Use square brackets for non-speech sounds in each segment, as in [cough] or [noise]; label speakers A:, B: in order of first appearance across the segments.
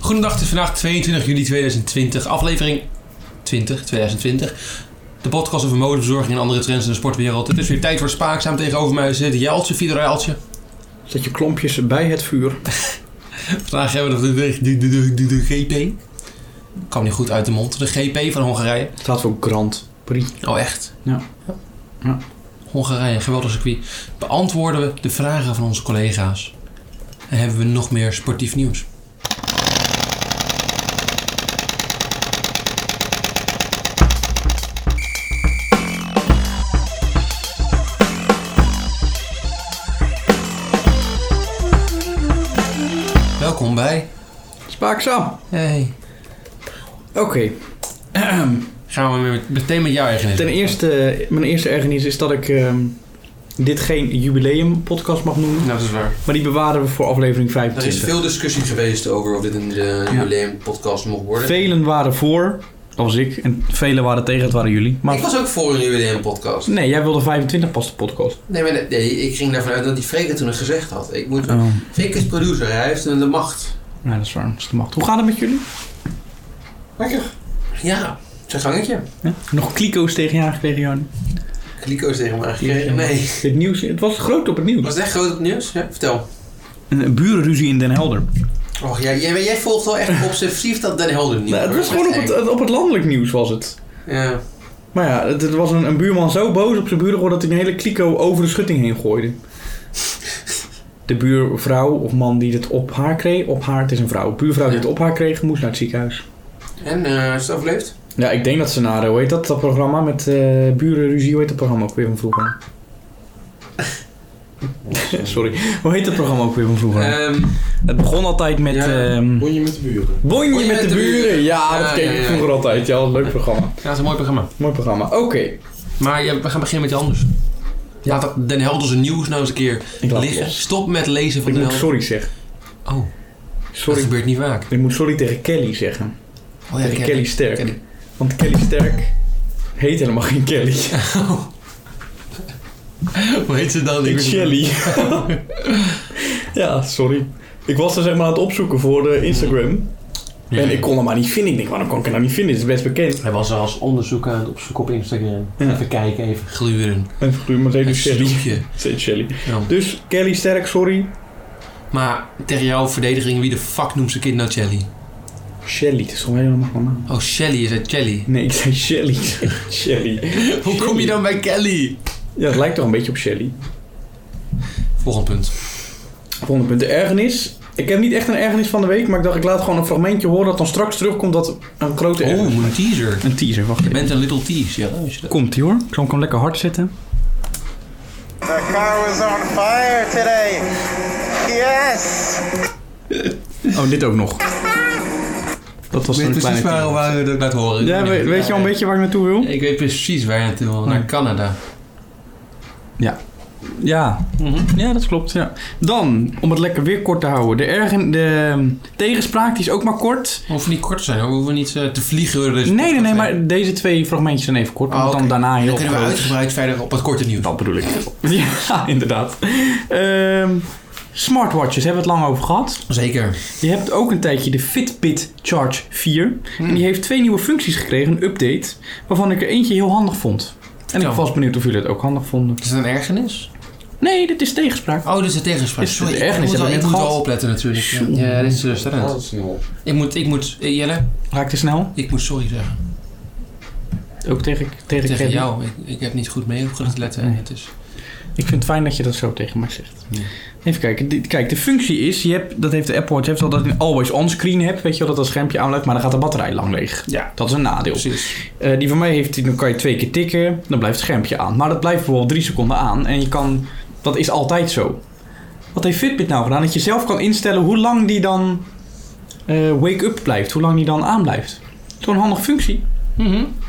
A: Goedendag, het is vandaag 22 juli 2020, aflevering 20, 2020. De podcast over modebezorging en andere trends in de sportwereld. Het is weer tijd voor Spaakzaam. Tegenover mij zit Jeltje, Fidora Jeltje.
B: Zet je klompjes bij het vuur.
A: Vandaag hebben we de, de, de, de, de, de GP. Kwam niet goed uit de mond. De GP van Hongarije.
B: Het staat voor Grand Prix.
A: Oh, echt?
B: Ja. Ja.
A: Hongarije, geweldig circuit. Beantwoorden we de vragen van onze collega's. En hebben we nog meer sportief nieuws. Welkom bij.
B: Spaakzaam.
A: Hey.
B: Oké.
A: Gaan we met- meteen met jou eigenlijk.
B: Ten eerste, mijn eerste ergernis is dat ik ehm, dit geen jubileum podcast mag noemen.
A: Nou, dat is waar.
B: Maar die bewaren we voor aflevering
A: Er is
B: 25.
A: veel discussie geweest over of dit een uh, jubileumpodcast mocht worden.
B: Velen waren voor, dat was ik. En velen waren tegen, dat waren jullie. Maar
A: Ik was ook voor een jubileumpodcast.
B: nee, jij wilde 25 pas de podcast.
A: Nee, maar nee, nee, ik ging ervan uit dat die Freek het toen gezegd had. Ik moet...
B: Oh.
A: Freek is producer, hij heeft de macht.
B: Ja, Nou, dat is waar. Dat is de macht. Hoe gaat het met jullie?
A: Lekker. Ja, zijn gangetje.
B: Ja? Nog kliko's tegen je aangekregen, Jan?
A: Kliko is tegen me aangekregen. Nee.
B: Het nieuws, het was groot op het nieuws.
A: [laughs] Was het echt groot op het nieuws? Ja, vertel.
B: Een burenruzie in Den Helder.
A: Och, jij, jij, jij volgt wel echt obsessief dat Den Helder niet.
B: Nou, het was gewoon op het, op het landelijk nieuws was het.
A: Ja.
B: Maar ja, het, het was een, een buurman zo boos op zijn buren geworden dat hij een hele kliko over de schutting heen gooide. De buurvrouw of man die het op haar kreeg, op haar, het is een vrouw, buurvrouw die het op haar kreeg, moest naar het ziekenhuis.
A: En, eh is het overleefd?
B: Ja, ik denk dat ze naar, eh, hoe heet dat, dat programma met eh burenruzie, hoe heet dat programma ook weer van vroeger? [laughs] Sorry, hoe heet dat programma ook weer van vroeger?
A: Ehm,
B: Eh, het begon altijd met...
A: ja.
B: ehm
C: Bonje met de buren.
B: Bonje met, de, buren. Ja, dat
A: Ja,
B: keek
A: ja,
B: ik
A: ja.
B: vroeger altijd. Ja, wat een leuk programma.
A: ja, het is een mooi programma.
B: Mooi programma. Oké.
A: Maar ja, we gaan beginnen met je anders. Laat dat Den Helder zijn nieuws nou eens een keer
B: Ik laat
A: liggen.
B: los.
A: Stop met lezen van Den
B: Ik moet
A: Helder.
B: sorry zeggen.
A: Oh, dat
B: Sorry.
A: gebeurt niet vaak.
B: Ik moet sorry tegen Kelly zeggen.
A: Oh ja,
B: tegen Kelly Sterk.
A: Kelly.
B: Want Kelly Sterk heet helemaal geen Kelly.
A: [laughs] Hoe heet ze dan? Ik
B: [laughs]
A: weet niet.
B: Ik Shelly. [laughs] ja, sorry. Ik was er zeg maar aan het opzoeken voor de Instagram.
A: Ja.
B: En ik kon hem maar niet vinden. Ik denk, waarom kon ik hem nou niet vinden? Het is best bekend.
D: Hij was als onderzoeker aan het opzoeken op Instagram.
B: Ja.
D: Even kijken, even.
A: Gluren.
B: En vroeger, maar ze heet
A: Een
B: dus Shelly.
A: snoepje.
B: Ze heet Shelly.
A: Ja.
B: Dus Kelly Sterk, sorry.
A: Maar tegen jouw verdediging, wie de fuck noemt zijn kind nou Shelly?
B: Shelly, het is gewoon helemaal normaal.
A: Oh, Shelly is het Shelly.
B: Nee, ik zei Shelly. [laughs] Ik zei Shelly.
A: Hoe kom je dan bij Kelly?
B: Ja, het lijkt toch een beetje op Shelly.
A: Volgend punt.
B: Volgende punt, de ergernis. Ik heb niet echt een ergernis van de week, maar ik dacht ik laat gewoon een fragmentje horen dat dan straks terugkomt dat een grote ergernis.
A: Oh, een teaser.
B: Een teaser, wacht
A: Je bent een little tease, ja. Als je dat-
B: Komt ie hoor. Ik zal hem lekker hard zetten.
E: The car was on fire today. Yes.
B: Oh, dit ook nog. Dat was een kleine teaser.
A: we dat laat horen.
B: Ja, we- weet je al een beetje waar ik naartoe wil?
A: Ik weet precies waar je naartoe wil. Naar Canada.
B: Ja.
A: Mhm.
B: Ja, dat klopt. Ja. Dan, om het lekker weer kort te houden. De, ergen, de ehm, tegenspraak die is ook maar kort.
A: We hoeven niet kort te zijn hoor. We hoeven niet eh, te vliegen door deze
B: Nee, nee, nee,
A: podcast heen.
B: maar deze twee fragmentjes zijn even kort.
A: Oh,
B: want dan
A: oké.
B: daarna heel
A: Dan kunnen we
B: groot.
A: uitgebreid verder op het korte nieuws.
B: Dat bedoel ik. [laughs] Ja, inderdaad. Ehm, smartwatches hebben we het lang over gehad.
A: Zeker.
B: Je hebt ook een tijdje de Fitbit Charge 4. En die heeft twee nieuwe functies gekregen, een update. Waarvan ik er eentje heel handig vond. En ik
A: Zo.
B: was benieuwd of jullie het ook handig vonden.
A: Is dat een ergernis?
B: Nee, dit is tegenspraak.
A: Oh, dit is een tegenspraak.
B: Is het
A: Sorry,
B: een
A: ik
B: ergernis?
A: moet wel,
B: Hebben
A: ik
B: we
A: moet
B: net Oh.
A: wel
B: gehad?
A: opletten natuurlijk. Ja, Ja, dit is teleurstellend.
C: Dat is snel.
A: Ik moet, ik moet, eh, Jelle,
B: Raak te snel.
A: ik moet sorry zeggen.
B: Ook tegen, tegen,
A: Tegen
B: Kevin.
A: jou. Ik, ik heb niet goed mee op kunnen letten.
B: Nee.
A: Het is,
B: Ik vind het fijn dat je dat zo tegen mij zegt.
A: Ja.
B: Even kijken. Dit- Kijk, de functie is, je hebt, dat heeft de Apple Watch, je hebt al dat je een always on screen hebt. Weet je wel, dat dat schermpje aanblijft, maar dan gaat de batterij lang leeg.
A: Ja.
B: Dat is een nadeel.
A: precies.
B: Eh, die van mij heeft, die- dan kan je twee keer tikken, dan blijft het schermpje aan. Maar dat blijft bijvoorbeeld drie seconden aan en je kan, dat is altijd zo. Wat heeft Fitbit nou gedaan? Dat je zelf kan instellen hoe lang die dan eh, wake-up blijft, hoe lang die dan aan blijft. Zo'n handige functie.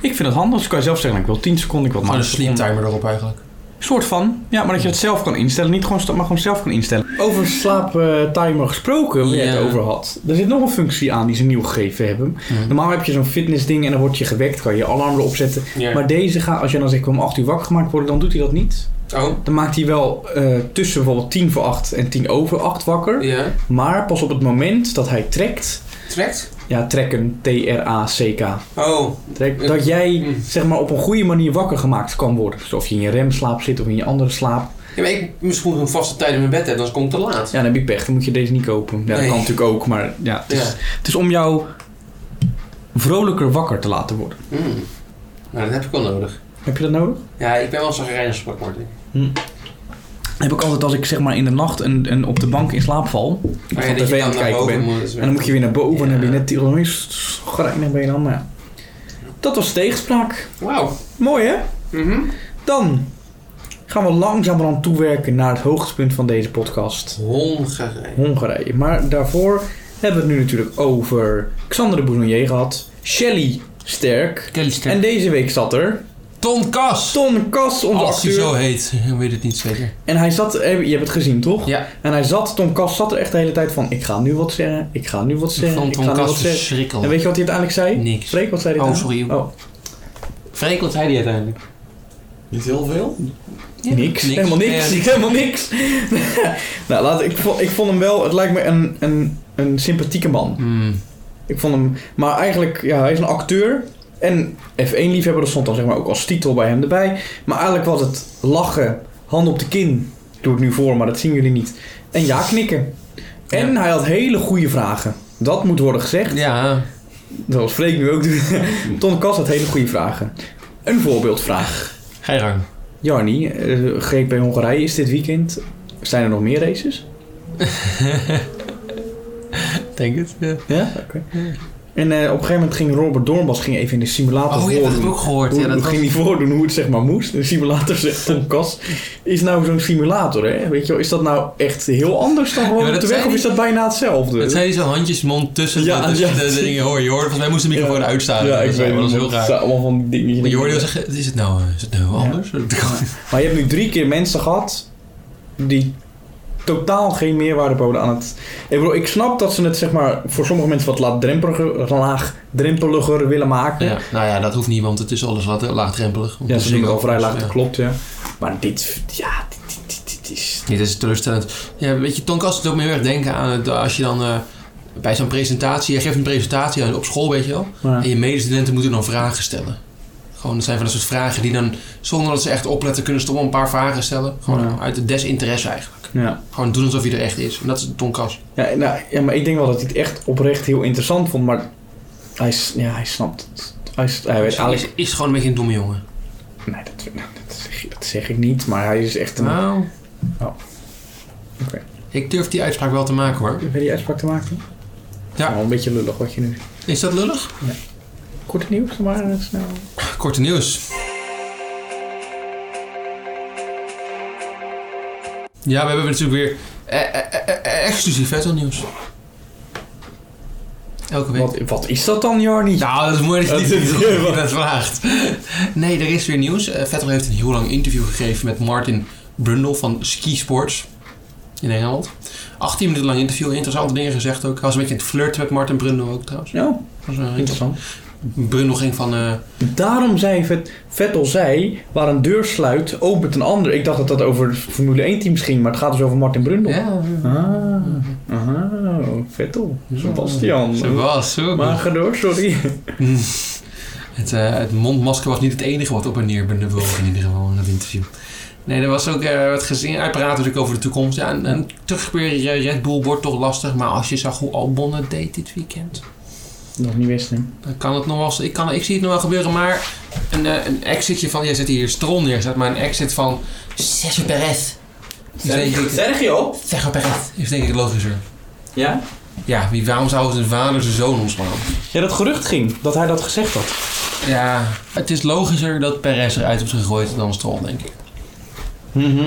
B: Ik vind het handig, dus kan je zelf zeggen, nou, ik wil 10 seconden, ik wil
A: Maar Mhm. een
B: 20
A: sleep
B: seconden.
A: timer erop eigenlijk.
B: Soort van, ja, maar dat je het zelf kan instellen. Niet gewoon, sta- maar gewoon zelf kan instellen. Over slaaptimer gesproken, waar je
A: Ja.
B: het over had. Er zit nog een functie aan die ze nieuw gegeven hebben.
A: Ja.
B: Normaal heb je zo'n fitnessding en dan word je gewekt. Kan je je alarm erop zetten.
A: Ja.
B: Maar deze gaat, als je dan zegt, ik wil om 8 uur wakker gemaakt worden, dan doet hij dat niet.
A: Oh,
B: Dan maakt hij wel eh, tussen bijvoorbeeld 10 voor 8 en 10 over 8 wakker.
A: ja.
B: Maar pas op het moment dat hij trekt,
A: Trekt?
B: Ja, trekken. T-R-A-C-K.
A: Oh,
B: Trek, dat jij
A: Mm.
B: zeg maar op een goede manier wakker gemaakt kan worden. Dus of je in je remslaap zit of in je andere slaap.
A: ja, maar ik misschien moet ik een vaste tijd in mijn bed hebben, anders kom ik te laat.
B: Ja, dan heb je pech. Dan moet je deze niet kopen. Ja,
A: Nee.
B: dat kan natuurlijk ook. Maar ja, het is,
A: Ja.
B: het is om jou vrolijker wakker te laten worden.
A: Mm. Nou, dat heb ik wel nodig.
B: Heb je dat nodig?
A: Ja, ik ben wel zagrijnig op Martin.
B: Heb ik altijd als ik zeg maar in de nacht een, een op de bank in slaap val.
A: Maar Oh ja,
B: Of aan
A: dat je
B: tv
A: dan
B: aan het
A: naar
B: kijken
A: boven
B: ben.
A: moet.
B: En dan moet je weer naar boven en dan heb je
A: Ja.
B: net die schrijnig ben je dan. Maar ja. Dat was tegenspraak.
A: Wauw.
B: Mooi hè?
A: Mhm.
B: Dan gaan we langzamerhand toewerken naar het hoogtepunt van deze podcast.
A: Hongarije.
B: Hongarije. Maar daarvoor hebben we het nu natuurlijk over Xander de Bouzonnier gehad. Shelley Sterk. En deze week zat er
A: Ton Kas.
B: Ton Kas, onze
A: Als hij
B: acteur.
A: Oh, zo heet, ik weet het niet zeker.
B: En hij zat, eh, je hebt het gezien toch?
A: Ja,
B: En hij zat, Tom Kas zat er echt de hele tijd van, ik ga nu wat zeggen, ik ga nu wat
A: ik
B: zeggen,
A: vond
B: ik ga
A: Ton
B: nu wat
A: Kas
B: zeggen.
A: verschrikkelijk.
B: En weet je wat hij uiteindelijk zei?
A: Niks.
B: Freek, wat zei hij
A: Oh,
B: dan?
A: sorry.
B: Oh,
A: Freek, wat zei hij uiteindelijk?
D: Niet heel veel?
A: Ja,
B: niks. Helemaal niks.
A: Ja,
B: Helemaal niks. [laughs] nou, laat, ik, vond, ik vond hem wel, het lijkt me een, een, een sympathieke man.
A: Hmm.
B: Ik vond hem, maar eigenlijk, ja, hij is een acteur en F1-liefhebber, dat stond dan zeg maar ook als titel bij hem erbij. Maar eigenlijk was het lachen, hand op de kin, Ik doe het nu voor, maar dat zien jullie niet. En ja knikken. En hij had hele goede vragen. Dat moet worden gezegd.
A: ja.
B: Zoals Freek nu ook [laughs] doet. Ton Kas had hele goede vragen. Een voorbeeldvraag.
A: ga je gang.
B: Jarni, eh, GP Hongarije is dit weekend. Zijn er nog meer races?
A: Denk het.
B: Ja? Oké. En eh, op een gegeven moment ging Robert Doornbos ging even in de simulator
A: Oh, ja, dat heb
B: voordoen.
A: ik ook gehoord.
B: Hoe,
A: Ja, dat
B: hoe
A: was...
B: ging hij voordoen hoe het zeg maar moest? Een simulator
A: [laughs]
B: zegt Tom Kas is nou zo'n simulator hè? Weet je wel, is dat nou echt heel anders dan
A: Ja,
B: gewoon
A: maar
B: op de
A: dat
B: weg
A: zei
B: of is dat bijna hetzelfde?
A: Het zijn zo handjesmond tussen
B: Ja,
A: de, tussen
B: ja.
A: de dingen. Hoor je hoor, volgens mij moest de microfoon
B: Ja.
A: uitstaan.
B: ja, ik
A: dat
B: weet
A: wel, dat is heel
B: Het
A: raar.
B: zijn allemaal van die dingetjes.
A: Maar je hoorde wel zeggen, is het nou, eh, is het nou anders? [laughs]
B: Maar je hebt nu drie keer mensen gehad die totaal geen meerwaarde boden aan het... Ik bedoel, ik snap dat ze het zeg maar voor sommige mensen wat laagdrempeliger, laagdrempeliger willen maken.
A: Ja, nou ja, dat hoeft niet, want het is alles wat eh, laagdrempelig.
B: Ja, ze doen het al vrij laag,
A: dus, Ja.
B: dat klopt ja. Maar dit, ja, dit, dit, dit is...
A: Dit is teleurstellend. Ja, weet je, Ton Kast doet ook me heel erg denken aan het, als je dan eh, bij zo'n presentatie, je geeft een presentatie aan- op school, weet je wel.
B: Ja.
A: En je medestudenten moeten dan vragen stellen. Gewoon, dat zijn van dat soort vragen die dan, zonder dat ze echt opletten, kunnen ze toch wel een paar vragen stellen. Gewoon
B: Ja.
A: uit het desinteresse eigenlijk.
B: ja.
A: Gewoon doen alsof je er echt is. En dat is Ton Kast.
B: Ja, nou, ja, maar ik denk wel dat hij het echt oprecht heel interessant vond, maar hij, s- ja, hij snapt het. Hij, s- hij weet
A: Is,
B: eigenlijk...
A: is, gewoon een beetje een domme jongen.
B: Nee, dat, nou, dat, zeg, dat zeg ik niet, maar hij is echt een...
A: Nou.
B: Oh. Oké.
A: Ik durf die uitspraak wel te maken hoor.
B: Wil je die uitspraak te maken?
A: Ja.
B: Wel een beetje lullig wat je nu...
A: Is dat lullig?
B: Korte nieuws, maar eh, snel.
A: Korte nieuws. Ja, we hebben natuurlijk weer eh, eh, eh, eh, exclusief Vettel nieuws. Elke week.
B: Wat, wat is dat dan, Jarni?
A: Nou, dat is mooi dat je
B: Dat
A: die- [laughs]
B: is-
A: dat je dat vraagt. Nee, er is weer nieuws. Eh, Vettel heeft een heel lang interview gegeven met Martin Brundle van Ski Sports in Engeland. 18 minuten lang interview, interessante dingen gezegd ook. Hij was een beetje aan het flirten met Martin Brundle ook trouwens.
B: Ja,
A: Dat was, eh,
B: interessant.
A: Brundle ging van... eh,
B: Daarom zei Vet, Vettel zei, waar een deur sluit, opent een ander. Ik dacht dat dat over Formule 1-teams ging, maar het gaat dus over Martin Brundle.
A: ja,
B: Ah, ah, Vettel. Sebastian.
A: ze was zo.
B: Maar door, sorry.
A: Het, eh, het mondmasker was niet het enige wat op en neer benubelde in ieder geval in dat interview. Nee, er was ook eh, wat gezien. Hij praatte natuurlijk over de toekomst. Ja, en, en terug weer eh, Red Bull wordt toch lastig. Maar als je zag hoe Albon het deed dit weekend,
B: Nog niet wist hem.
A: dan kan het nog wel. eens- Ik, kan, ik zie het nog wel gebeuren. Maar een, eh, een exitje van. Jij zet hier Stron neer, zet maar een exit van. Sergio Perez. Is denk ik-
B: Sergio?
A: Sergio Perez is denk ik logischer.
B: Ja?
A: Ja, wie, waarom zou zijn vader zijn zoon ontslaan?
B: Ja, dat gerucht ging dat hij dat gezegd had.
A: Ja, het is logischer dat Perez eruit is gegooid dan Stroll, denk ik.
B: Mhm.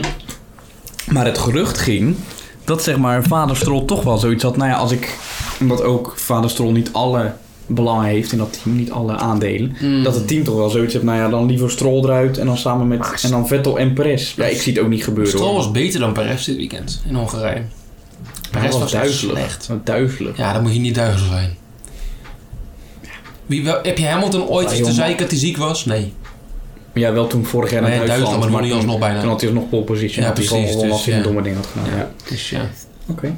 B: Maar het gerucht ging dat zeg maar vader Stroll toch wel zoiets had. Nou ja, als ik, omdat ook vader Stroll niet alle belangen heeft in dat team, niet alle
A: Mhm.
B: aandelen.
A: Hmm.
B: Dat het team toch wel zoiets heeft, nou ja, dan liever Stroll eruit en dan samen met, en dan Vettel en Perez. Ja, ik zie het ook niet gebeuren
A: Stroll
B: hoor.
A: was beter dan Perez dit weekend in Hongarije.
B: Hij
A: Perez was, echt
B: duizelig.
A: slecht.
B: Wat Duizelig.
A: Ja, dan moet je niet duizelig zijn. Wie, wel- heb je Hamilton ooit
B: Maar
A: eens te
B: joh,
A: zeiken dat hij ziek was? Nee.
B: Maar ja, wel toen vorig jaar naar
A: Nee,
B: Duitsland.
A: Duitsland, maar dan
B: maar
A: won hij alsnog
B: toen-
A: bijna.
B: Toen had hij nog pole position.
A: Ja,
B: had hij
A: precies,
B: gewoon gewonnen
A: dus,
B: als hij een
A: ja.
B: domme ding had gedaan.
A: Ja.
B: Ja.
A: Dus ja.
B: Oké.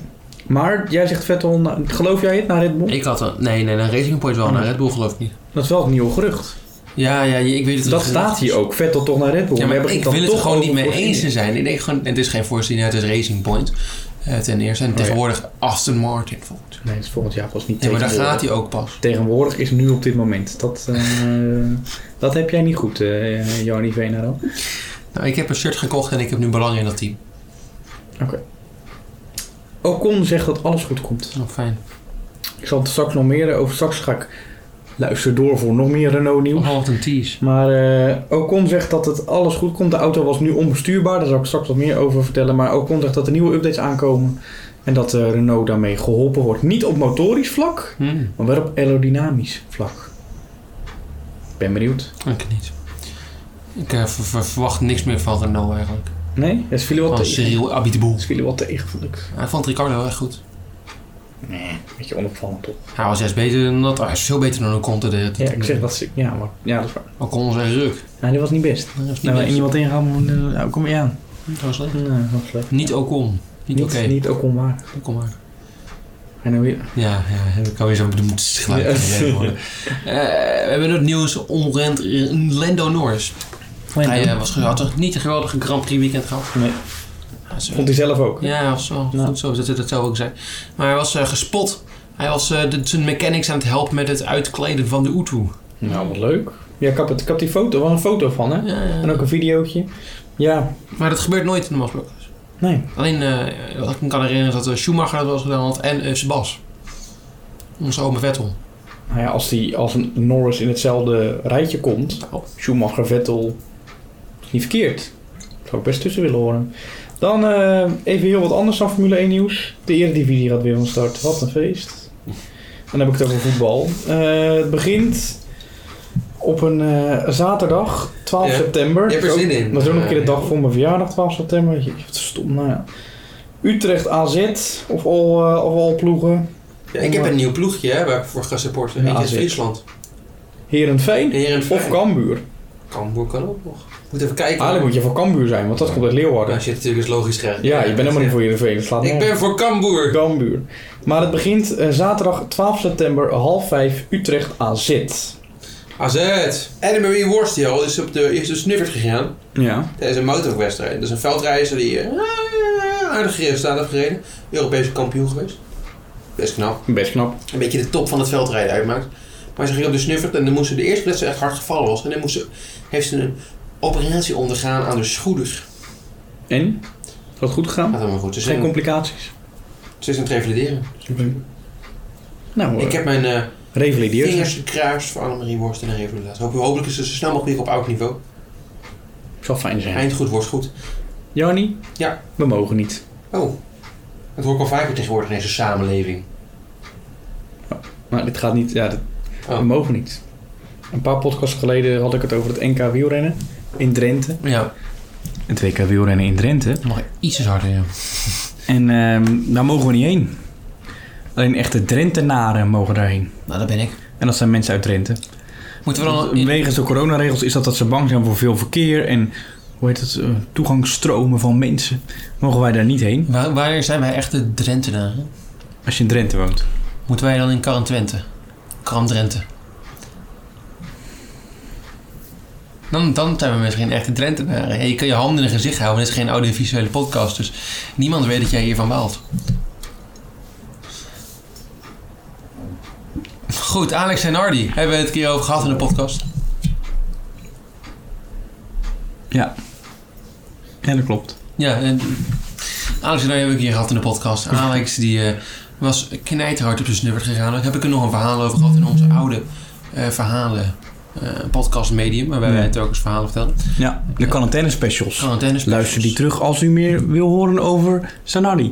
B: Maar jij zegt Vettel, nou, geloof jij het naar Red Bull?
A: Ik had een... Nee, nee, een Racing Point wel.
B: Oh.
A: Naar Red Bull geloof ik niet.
B: Dat is wel het nieuwe gerucht.
A: Ja, ja, je- ik weet het
B: Dat
A: niet.
B: staat hier ook. Vettel toch naar Red Bull.
A: Ja,
B: We
A: maar
B: hebben
A: ik
B: dan
A: wil het er
B: toch
A: gewoon
B: over
A: niet mee
B: Force
A: eens
B: India.
A: te zijn. Ik denk gewoon, het is geen voorziening, het is Racing Point. eh, ten eerste. En
B: Oh, ja.
A: tegenwoordig Aston Martin volgens
B: Nee, dat is volgend jaar pas niet
A: Nee, maar daar
B: tegenwoordig.
A: gaat hij ook pas.
B: Tegenwoordig is nu op dit moment. Dat, eh, dat heb jij niet goed, eh Jarni Venaro.
A: Nou, ik heb een shirt gekocht en ik heb nu belang in dat team.
B: Ocon zegt dat alles goed komt.
A: Nou, fijn.
B: Ik zal het straks nog meer eh, over. Straks ga ik luisteren door voor nog meer Renault nieuws.
A: Oh, wat een tease.
B: Maar eh, Ocon zegt dat het alles goed komt. De auto was nu onbestuurbaar. Daar zal ik straks wat meer over vertellen. Maar Ocon zegt dat er nieuwe updates aankomen. En dat eh, Renault daarmee geholpen wordt. Niet op motorisch vlak,
A: Hmm,
B: maar wel op aerodynamisch vlak. Ik ben benieuwd.
A: ik niet. Ik eh, ver- ver- verwacht niks meer van Renault eigenlijk.
B: Nee? Het viel wat
A: Van
B: tegen.
A: Cyril Abiteboul.
B: Het viel wat tegen, vond ik.
A: Hij vond Ricardo wel echt goed.
B: Nee, beetje onopvallend toch?
A: Hij was juist beter dan dat. Hij is veel beter dan Ocon. te de-
B: Ja, ik zeg dat ze. Ja, maar, ja dat is waar.
A: Ocon is een ruk.
B: Nee, dat was niet best.
A: Dat is niet
B: Nou,
A: best.
B: iemand ingaan, moet- nou, kom je aan.
A: Dat was leuk.
B: Nee, dat was leuk.
A: Niet Ocon. Niet
B: Niet,
A: oké.
B: niet ook onwaar.
A: Kom maar.
B: En dan weer...
A: Ja, ja, ik kan weer zo'n bedoeld geluid
B: Ja.
A: gegeven
B: [laughs]
A: worden. Eh, we hebben het nieuws omtrent eh, Lando Norris. Hij eh, was, had toch niet een geweldige Grand Prix weekend gehad.
B: Nee,
A: Hij is, eh,
B: vond hij zelf ook.
A: Ja, was wel
B: Ja.
A: goed zo. Dat, dat zou ook zijn. Maar hij was eh, gespot. Hij was eh, de, zijn mechanics aan het helpen met het uitkleden van de Utu.
B: Nou, wat leuk. Ja, ik had, het, ik had die foto, wel een foto van hè.
A: Ja, ja.
B: En ook een videootje. Ja,
A: Maar dat gebeurt nooit in de Masblokkers.
B: nee.
A: Alleen, eh, wat ik me kan herinneren, is dat eh, Schumacher dat wel eens gedaan had en eh, Sebas. Onze oma Vettel.
B: Nou ja, als, die, als een Norris in hetzelfde rijtje komt,
A: Nou,
B: Schumacher, Vettel, is niet verkeerd. Zou ik best tussen willen horen. Dan eh, even heel wat anders dan Formule 1 nieuws. De Eredivisie gaat weer van start. Wat een feest. Dan heb ik het over voetbal. Eh, het begint op een eh, zaterdag, 12
A: Ja.
B: september.
A: Je hebt er
B: Dat is ook-
A: zin in.
B: Dat is ook nog een keer de
A: Eh,
B: dag voor mijn verjaardag, 12 september. Jeetje, wat stom, nou ja. Utrecht AZ, of al, eh, of al ploegen. ik heb een
A: nieuw ploegje hè, waar ik voor ga supporten.
B: Eentje is
A: Friesland.
B: Herenveen of
A: Heerenveen.
B: Cambuur.
A: Cambuur kan ook nog. Moet even kijken.
B: Eigenlijk moet je voor Cambuur zijn, want dat komt uit Leeuwarden.
A: Als je het natuurlijk eens logisch krijgt.
B: Ja, je bent helemaal niet voor Heerenveen. Dat slaat
A: Ik
B: nergens
A: ben voor Cambuur.
B: Cambuur. Maar het begint eh, zaterdag 12 september half 5 Utrecht AZ.
A: AZ. Anne-Marie Worstiel is op de eerste snuffert gegaan
B: Ja.
A: tijdens een motorwedstrijd. Dat is een veldreizer die eh, aardig gereden staat heeft gereden. Europese kampioen geweest. Best knap.
B: Best knap.
A: Een beetje de top van het veldrijden uitmaakt. Maar ze ging op de snuffert en dan moest ze de eerste dat ze echt hard gevallen was. En dan moest ze, heeft ze een operatie ondergaan aan de schouders.
B: En? Is dat goed gegaan?
A: Gaat helemaal goed. Ze is,
B: Geen
A: aan-
B: complicaties.
A: ze is aan het revalideren.
B: Nou,
A: Ik heb mijn eh,
B: revalideer.
A: vingers gekruist voor Annemarie Worst en haar revalidatie. Hoop- Hopelijk is ze zo snel mogelijk weer op oud niveau.
B: Zal fijn zijn.
A: Eind goed, wordt goed.
B: Jannie?
A: Ja.
B: We mogen niet.
A: Oh, dat hoor ik al vaker tegenwoordig in deze samenleving.
B: Maar dit gaat niet. Ja, dit-
A: Oh.
B: we mogen niet. Een paar podcasts geleden had ik het over het NK wielrennen in Drenthe.
A: Ja,
B: Het WK wielrennen in Drenthe.
A: nog iets harder, ja.
B: En ehm, daar mogen we niet heen. Alleen echte Drentenaren mogen daarheen.
A: Nou, dat ben ik.
B: En dat zijn mensen uit Drenthe. Dus
A: Moeten we dan...
B: Wegens de coronaregels is dat dat ze bang zijn voor veel verkeer en hoe heet het, eh, toegangsstromen van mensen. Mogen wij daar niet heen
A: Waar, waar zijn wij echte Drentenaren?
B: als je in Drenthe woont?
A: Moeten wij dan in Karan Twente? Karan Drenthe. Dan, dan zijn we misschien echte Drentenaren. Ja, je kan je handen in het gezicht houden. Dit is geen audiovisuele podcast, dus niemand weet dat jij hiervan baalt. Goed, Alex en Hardy hebben we het een keer over gehad in de podcast.
B: Ja, dat klopt.
A: Ja, en Alex en Arjen hebben we een keer gehad in de podcast. Alex die eh, was knijterhard op zijn snuffert gegaan. Daar heb ik er nog een verhaal over gehad in
B: Mhm.
A: onze oude eh, verhalen eh, podcast medium. Waarbij
B: Ja.
A: wij telkens verhalen vertellen.
B: Ja, de quarantaine specials.
A: Gewoon tennis.
B: Luister die terug als u meer wil horen over Zanardi.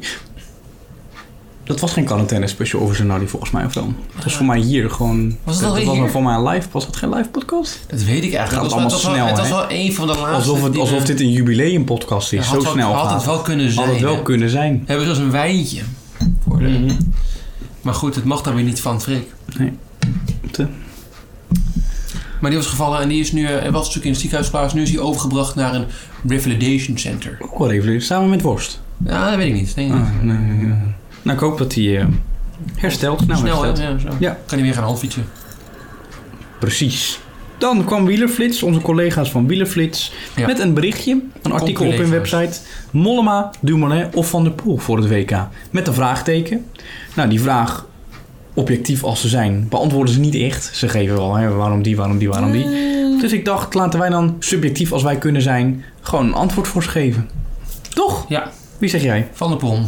B: Dat was geen quarantaine special over Zanardi volgens mij of dan. Dat was voor mij hier gewoon...
A: Was dat alweer
B: was
A: hier?
B: voor mij een live, was dat geen live podcast?
A: Dat weet ik eigenlijk.
B: Gaat
A: Dat was-
B: allemaal
A: dat was wel-
B: snel,
A: Het was
B: hè?
A: wel een van de laatste.
B: Alsof, het,
A: die
B: alsof
A: we-
B: dit een jubileumpodcast is,
A: Ja,
B: zo
A: had wel-
B: snel
A: Had
B: gaat.
A: het wel kunnen zijn.
B: Had het wel
A: hè?
B: kunnen zijn.
A: Hebben we zoals een wijntje. Voor de-
B: Mhm.
A: Maar goed, het mag dan weer niet van Freek.
B: Nee. Te.
A: Maar die was gevallen en die is nu, eh, hij was natuurlijk in het ziekenhuis geplaatst. Nu is hij overgebracht naar een revalidation center.
B: Ook wel even, samen met Worst.
A: Ja, dat weet ik niet. Denk ik niet.
B: Ah, nee, nee, nee. Nou, ik hoop dat hij eh, herstelt. Nou,
A: Snel, hè?
B: herstelt.
A: Ja, zo.
B: Ja.
A: Kan hij weer gaan handfietsen.
B: Precies. Dan kwam Wielerflits, onze collega's van Wielerflits,
A: Ja.
B: met een berichtje, een artikel op hun
A: collega's.
B: website. Mollema, Dumoulin of Van der Poel voor het WK? Met een vraagteken. Nou, die vraag, objectief als ze zijn, beantwoorden ze niet echt. Ze geven wel, hè, waarom die, waarom die, waarom die. Dus ik dacht, laten wij dan subjectief als wij kunnen zijn, gewoon een antwoord voor ze geven. Toch?
A: Ja.
B: Wie zeg jij?
A: Van der Pom.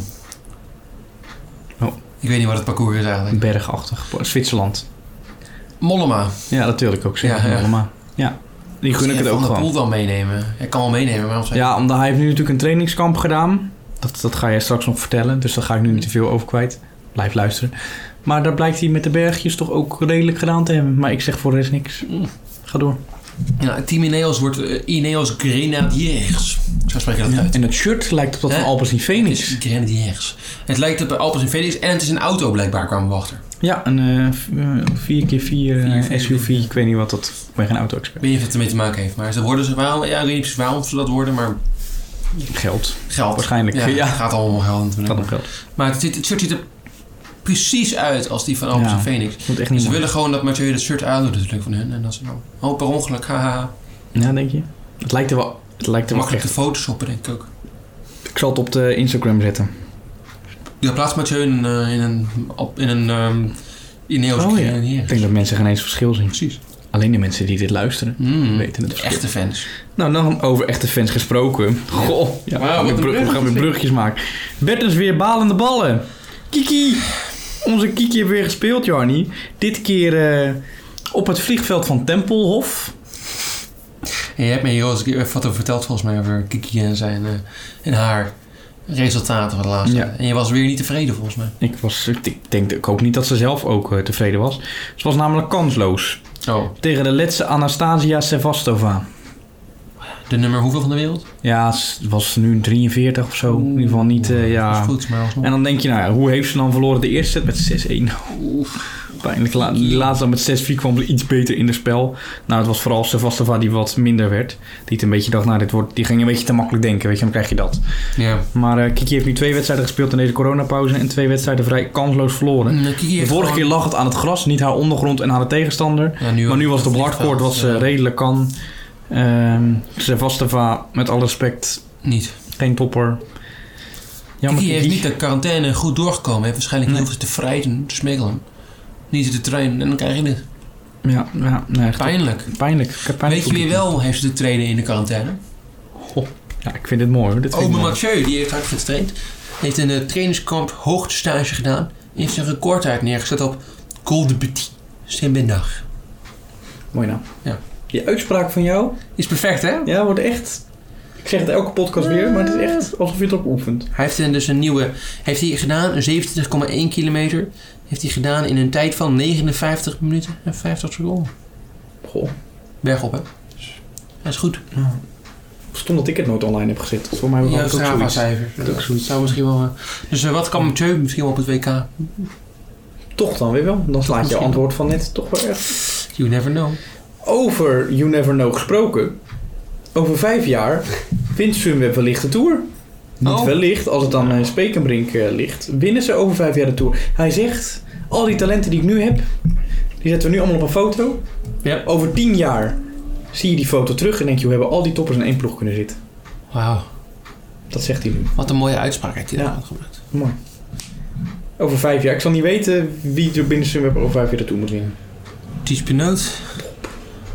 B: Oh.
A: Ik weet niet wat het parcours is eigenlijk.
B: Bergachtig, Zwitserland.
A: Mollema.
B: Ja, natuurlijk ook zeggen,
A: Ja, ja.
B: Mollema. Ja, die gun ik het
A: Van
B: ook
A: der
B: gewoon.
A: Poel dan meenemen. Hij kan wel meenemen, maar als hij...
B: Ja, omdat hij heeft nu natuurlijk een trainingskamp gedaan. Dat, dat ga jij straks nog vertellen, dus daar ga ik nu niet te veel over kwijt. Blijf luisteren. Maar daar blijkt hij met de bergjes toch ook redelijk gedaan te hebben. Maar ik zeg voor de rest niks.
A: Mm.
B: Ga door.
A: Ja, Team Ineos wordt eh, Ineos Grenadiers. Zo spreek je dat uit.
B: En dat shirt lijkt op dat van
A: Hè?
B: Alpes in
A: Het is
B: Phoenix.
A: Grenadiers. Het lijkt op Alpes en Felix en het is een auto blijkbaar kwamen we achter.
B: Ja, een eh 4x4 eh,
A: Vier, vier,
B: SUV.
A: vier.
B: Ik weet niet wat dat... Ik ben geen auto-expert.
A: Ik weet niet of het ermee te maken heeft, maar ze worden ze waarom, ja, ik weet niet precies waarom ze dat worden, maar
B: Geld.
A: geld.
B: Waarschijnlijk,
A: Ja,
B: ja.
A: Het gaat allemaal om geld
B: Gaat
A: natuurlijk.
B: om geld.
A: Maar het, ziet- het shirt ziet er precies uit als die van Alpes
B: Ja.
A: en Phoenix.
B: Dat moet echt
A: En
B: niet
A: ze
B: mooi.
A: willen gewoon dat Mathieu dat shirt aandoet natuurlijk van hun. En dat ze nou, oh per ongeluk, haha.
B: Ja, denk je? Het lijkt er wel... Het lijkt er wel
A: Makkelijk
B: echt.
A: te photoshoppen denk ik ook.
B: Ik zal het op de Instagram zetten.
A: Ja, plaats Mathieu in, een, eh, in een, op- in een ehm, Ineos
B: Oh, ja. Ik
A: Grenadiers.
B: denk dat mensen geen eens verschil zien.
A: Precies.
B: Alleen de mensen die dit luisteren.
A: Mm,
B: Weten het
A: de
B: verschil.
A: echte fans.
B: Nou, dan over echte fans gesproken. Goh, ja, we,
A: Wauw,
B: gaan
A: wat
B: weer
A: een
B: brug- we gaan weer
A: bruggetje.
B: brugjes maken. Bert is weer balende ballen. Kiki! Onze Kiki heeft weer gespeeld, Jarny. Dit keer eh, op het vliegveld van Tempelhof.
A: En je hebt me hier al eens een keer wat over verteld, volgens mij, over Kiki en, zijn, eh, en haar resultaten van de laatste.
B: Ja.
A: En je was weer niet tevreden, volgens mij.
B: Ik, was, ik, ik denk, ik hoop niet dat ze zelf ook eh, tevreden was. Ze was namelijk kansloos
A: Oh,
B: tegen de letse Anastasia Sevastova.
A: de nummer hoeveel van de wereld?
B: Ja, ze was nu 43 of zo. In ieder geval niet, eh,
A: Dat
B: ja...
A: is goed, maar alsnog.
B: En dan denk je, nou ja, hoe heeft ze dan verloren de eerste set met 6-1? Pijnlijk. La, die laatste dan met 6-4 kwam er iets beter in het spel. Nou, het was vooral Sevastova die wat minder werd. Die het een beetje dacht, nou, dit wordt, die ging een beetje te makkelijk denken. Weet je, dan krijg je dat.
A: Ja.
B: Maar eh, Kiki heeft nu twee wedstrijden gespeeld in deze coronapauze. En twee wedstrijden vrij kansloos verloren.
A: Mm, Kiki
B: De
A: heeft
B: vorige keer
A: gewoon-
B: lag het aan het gras, niet haar ondergrond en aan de tegenstander.
A: Ja, nu
B: Maar nu was eh, het op hardcourt wat ze
A: Ja,
B: redelijk kan. Ehm Sevastova, met alle respect,
A: Niet.
B: geen topper.
A: Kiki,
B: Jammer,
A: heeft niet de quarantaine goed doorgekomen. Hij heeft waarschijnlijk
B: Nee.
A: heel veel te vrijten, te smikkelen. Niet te trainen en dan krijg je dit.
B: Ja, ja nee, echt
A: Pijnlijk.
B: Pijnlijk. Ik heb pijnlijk
A: Weet je wie wel heeft te trainen in de quarantaine?
B: Ja, ik vind dit mooi hoor. Dit vind ik
A: Ome
B: mooi.
A: Mathieu, die heeft hard getraind. Heeft een eh, trainingskamp hoogtestage gedaan. En heeft zijn recordtijd neergezet op Col de Petit. Saint-Bendag.
B: Mooi nou.
A: Ja.
B: Die uitspraak van jou,
A: Is perfect, hè?
B: ja, wordt echt... Ik zeg het elke podcast weer, maar het is echt alsof je het ook oefent.
A: Hij heeft eh, dus een nieuwe... Heeft hij gedaan, een 27,1 kilometer. Heeft hij gedaan in een tijd van 59 minuten en 50 seconden.
B: Goh,
A: Bergop, hè? Dat is goed.
B: stond dat ik het nooit online heb gezet. Voor mij
A: Ja,
B: was het ook zoiets.
A: Strava-cijfer.
B: Dat is ook zoiets.
A: zou misschien wel... eh, Dus eh, wat kan Mathieu misschien wel op het WK?
B: Toch dan weer wel. Dan slaat je
A: misschien.
B: antwoord van net toch wel echt.
A: You never know.
B: Over You Never Know gesproken. Over vijf jaar wint Sunweb wellicht de Tour. Niet
A: Oh.
B: wellicht, als het dan eh Spekenbrink eh, ligt, winnen ze over vijf jaar de Tour. Hij zegt, al die talenten die ik nu heb, die zetten we nu allemaal op een foto.
A: Ja.
B: Over tien jaar zie je die foto terug en denk je, we hebben al die toppers in één ploeg kunnen zitten.
A: Wauw.
B: Dat zegt hij nu.
A: Wat een mooie uitspraak heeft hij
B: Ja.
A: daar gebruikt.
B: Mooi. Over vijf jaar. Ik zal niet weten wie er binnen Sunweb over vijf jaar de Tour moet winnen.
A: Ties Pinoot.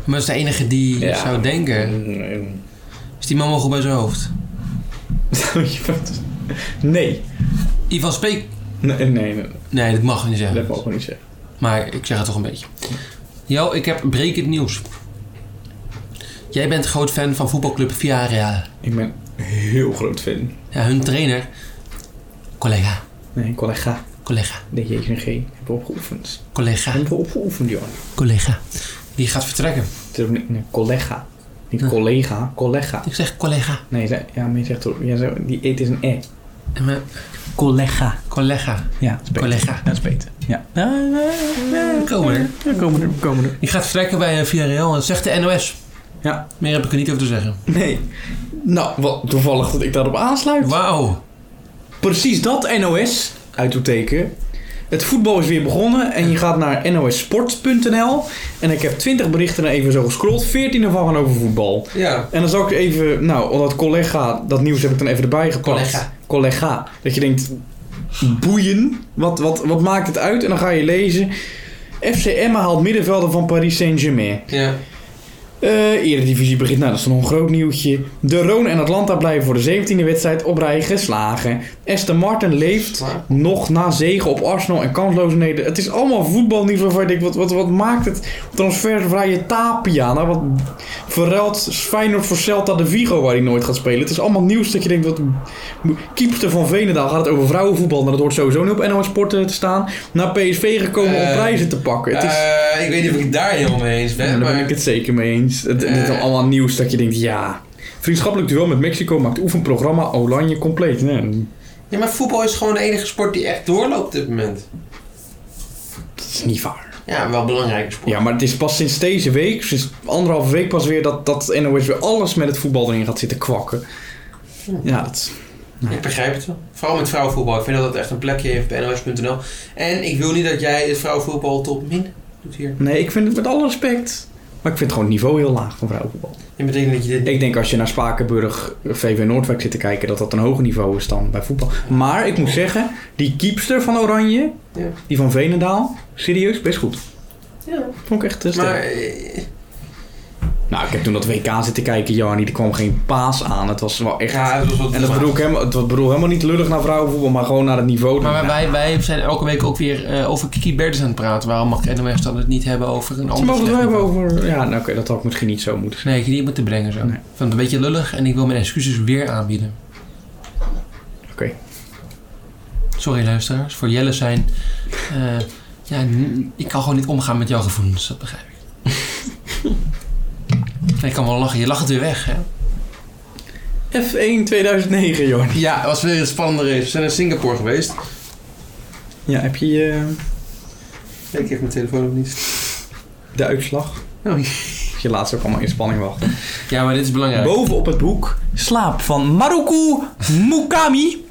A: Maar dat is de enige die
B: Ja.
A: zou denken.
B: Nee. [laughs]
A: Is die man wel goed bij zijn hoofd?
B: nee.
A: Ivan Speek.
B: Nee, nee, nee.
A: Nee, dat mag je niet
B: dat
A: zeggen.
B: mag ik ook niet zeggen.
A: Maar ik zeg het toch een beetje. Jo, ik heb brekend nieuws. Jij bent groot fan van voetbalclub Villarreal.
B: Ik ben heel groot fan.
A: Ja, hun trainer. Collega,
B: Nee, collega.
A: collega,
B: De J en G hebben we opgeoefend.
A: collega,
B: Hebben we opgeoefend, joh.
A: collega. Die gaat vertrekken.
B: Het is ook niet nee, collega. Niet
A: Ja.
B: collega, collega.
A: Ik zeg collega.
B: Nee, ze- ja, maar je zegt toch, ja, zo- die eet is een e.
A: En mijn
B: Collega.
A: collega,
B: Ja, dat is beter.
A: collega.
B: Ja, dat is beter. Ja.
A: We komen er.
B: Ja, komen er, we komen er.
A: Die gaat vertrekken bij eh, Villarreal. En dat zegt de NOS.
B: Ja.
A: Meer heb ik er niet over te zeggen.
B: Nee. Nou, wat toevallig dat ik daarop aansluit.
A: Wauw.
B: Precies dat, NOS. uitroepteken. Het voetbal is weer begonnen en je gaat naar nosport.nl. En ik heb 20 berichten er even zo gescrolld. 14 ervan gaan over voetbal.
A: Ja.
B: En dan zal ik even, nou, omdat collega, dat nieuws heb ik dan even erbij gepakt.
A: Collega.
B: Collega. Dat je denkt, boeien, wat, wat, wat maakt het uit? En dan ga je lezen. FC Emma haalt middenvelder van Paris Saint-Germain.
A: Ja.
B: Eh Eredivisie begint, nou dat is nog een groot nieuwtje. De Roon en Atlanta blijven voor de 17e wedstrijd op rij geslagen. Aston Martin leeft
A: Maar-
B: nog na zegen op Arsenal en kansloosheden. Het is allemaal voetbalnieuws waarvan ik denk, wat, wat, wat maakt het transfervrije Tapia? Nou, wat verruilt Feyenoord voor Celta de Vigo waar hij nooit gaat spelen? Het is allemaal nieuws dat je denkt, wat keepster van Venendaal gaat het over vrouwenvoetbal. Nou, dat hoort sowieso niet op NOS Sport eh, te staan. Naar PSV gekomen om
A: Eh,
B: prijzen te pakken. Het is...
A: Eh, ik weet niet of ik het daar helemaal mee eens ben,
B: Ja, daar
A: maar...
B: ben ik het zeker mee eens. Het, dit is
A: Eh.
B: allemaal nieuws dat je denkt, ja. Vriendschappelijk duel met Mexico maakt oefenprogramma Oranje compleet. Nee,
A: Ja, maar voetbal is gewoon de enige sport die echt doorloopt op dit moment.
B: dat is niet waar.
A: Ja, wel een belangrijke sport.
B: Ja, maar het is pas sinds deze week, sinds anderhalve week pas weer, dat, dat NOS weer alles met het voetbal erin gaat zitten kwakken. Ja, dat is-
A: Ik begrijp het wel. Vooral met vrouwenvoetbal. Ik vind dat dat echt een plekje heeft bij NOS.nl. En ik wil niet dat jij het vrouwenvoetbal tot min doet hier.
B: nee, ik vind het met alle respect. Maar ik vind gewoon het niveau heel laag van vrouwenvoetbal.
A: Dat betekent dat je dit...
B: Ik denk als je naar Spakenburg, VV Noordwijk zit te kijken, dat dat een hoger niveau is dan bij voetbal. Maar ik moet zeggen, die keepster van Oranje,
A: Ja.
B: die van Venendaal, serieus best goed.
A: Ja.
B: Vond ik echt eh, sterk.
A: Maar... eh,
B: Nou, ik heb toen dat WK zitten kijken, Jarnie. Er kwam geen paas aan. Het was wel echt...
A: Ja, dat was wat
B: en dat bedoel ik helemaal, het bedoel helemaal niet lullig naar vrouwenvoetbal, maar gewoon naar het niveau.
A: Maar wij- wij,
B: Nou,
A: wij zijn elke week ook weer eh, over Kiki Bertens aan het praten. Waarom mag NOS dan het niet hebben over een
B: ze
A: ander
B: Nou, mogen het
A: slecht
B: wel hebben
A: niveau?
B: over... Ja, nou oké, dat had ik misschien niet zo moeten
A: Nee, ik heb niet moeten brengen zo.
B: Nee.
A: Ik vond het een beetje lullig en ik wil mijn excuses weer aanbieden.
B: Oké.
A: Sorry luisteraars, voor Jelle zijn... eh, ja, n- ik kan gewoon niet omgaan met jouw gevoelens, dat begrijp ik. [laughs] Nee, ik kan wel lachen, je lacht het weer weg, hè?
B: F1 2009, Jarnie.
A: Ja, het was weer een spannende race. We zijn in Singapore geweest.
B: Ja, heb je eh,
A: Ik heb mijn telefoon nog niet.
B: de uitslag?
A: Oh.
B: Je laat ze ook allemaal in spanning wachten.
A: Ja, maar dit is belangrijk.
B: Boven op het boek Slaap van Maruku Mukami.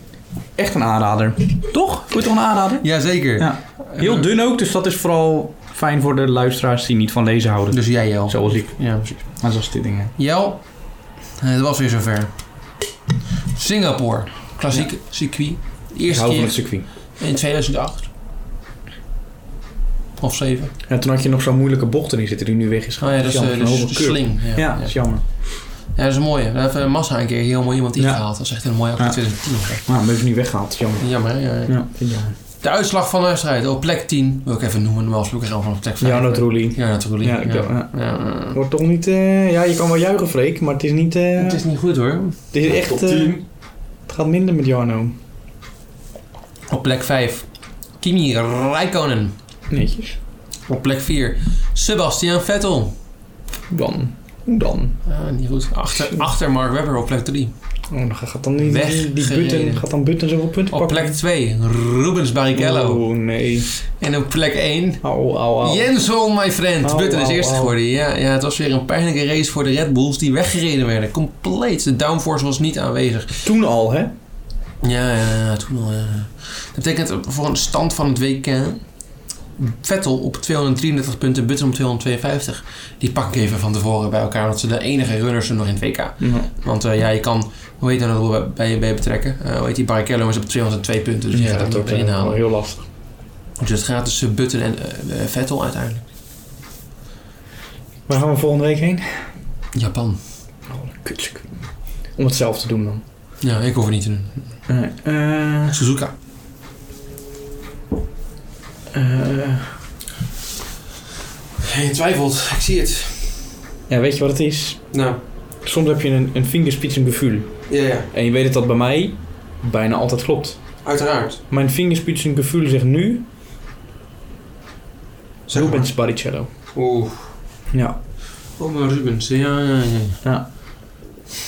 B: Echt een aanrader. Toch? Vond je het toch een aanrader?
A: Jazeker.
B: Ja. Heel dun ook, dus dat is vooral fijn voor de luisteraars die niet van lezen houden.
A: Dus jij, Jel.
B: Zoals ik.
A: Ja, precies.
B: Maar zoals dit dingen.
A: Jel, eh, het was weer zover. Singapore, klassiek circuit.
B: Ik
A: Eerste
B: hou van
A: keer
B: het circuit.
A: in 2008. Of 7.
B: Ja, toen had je nog zo'n moeilijke bocht erin zitten die nu weg is
A: Oh
B: gegaan.
A: ja, dat is eh,
B: Jammer,
A: dus
B: zo'n
A: de,
B: hoge curve.
A: sling. Ja,
B: Ja, dat is jammer.
A: Ja, dat is een mooie. Daar heeft eh, Massa een keer heel mooi iemand
B: Ja.
A: ingehaald. Dat is echt een mooie actie
B: Ja.
A: 2010.
B: Maar we hebben nu weggehaald, dat is jammer.
A: Jammer, hè? Ja, ja.
B: Ja, vind ik jammer.
A: De uitslag van de wedstrijd op plek 10. Wil ik even noemen, normaal gesproken gaan we van plek 5.
B: Ja, dat roelie.
A: Ja, natuurlijk.
B: Ja, ik wel, ja.
A: Ja, eh,
B: Wordt toch niet... eh, ja, je kan wel juichen, Freek, maar het is niet... eh,
A: Het is niet goed hoor.
B: het is echt...
D: Top
B: eh,
D: 10.
B: het gaat minder met Jarno.
A: Op plek 5, Kimi Räikkönen.
B: Netjes.
A: Op plek 4, Sebastian Vettel.
B: Dan. Hoe dan?
A: Ah, niet goed. Achter, achter Mark Webber op plek 3.
B: Oh, dan gaat dan die, die, die
A: Weggereden.
B: Button, gaat dan Button zoveel punten
A: Op
B: pakken?
A: plek 2, Rubens Barrichello.
B: Oh, nee.
A: En op plek 1,
B: Au, au, au.
A: Jenson, my friend.
B: Oh,
A: Button is
B: oh,
A: eerste
B: oh.
A: geworden. Ja, ja, het was weer een pijnlijke race voor de Red Bulls die weggereden werden. Compleet. De downforce was niet aanwezig.
B: Toen al, hè?
A: Ja, ja, ja, toen al. Ja. Dat betekent voor een stand van het WK. Vettel op 233 punten, Button op 252. Die pak ik even van tevoren bij elkaar, want ze zijn de enige runners zijn nog in het WK.
B: Nou,
A: Want eh, ja, je kan, hoe heet dat nog bij, bij, bij betrekken? Eh, hoe heet die Barrichello is op 202 punten, dus die gaat hem
B: wordt,
A: erin
B: eh,
A: inhalen.
B: wel heel lastig.
A: Dus het gaat tussen Button en eh, eh, Vettel uiteindelijk.
B: Waar gaan we volgende week heen?
A: Japan.
B: Oh, kutsuk. Om het zelf te doen dan.
A: Ja, ik hoef het niet te doen.
B: Nee. eh,
A: Suzuka.
B: eh,
A: Je twijfelt, ik zie het.
B: ja, weet je wat het is?
A: Nou,
B: Soms heb je een, een vingerspitsengevoel.
A: ja, ja,
B: En je weet dat dat bij mij bijna altijd klopt.
A: uiteraard.
B: Mijn vingerspitsengevoel zegt nu...
A: Zeg
B: Rubens Barrichello.
A: Oeh,
B: Ja.
A: oh, maar Rubens, ja, ja, ja.
B: Ja.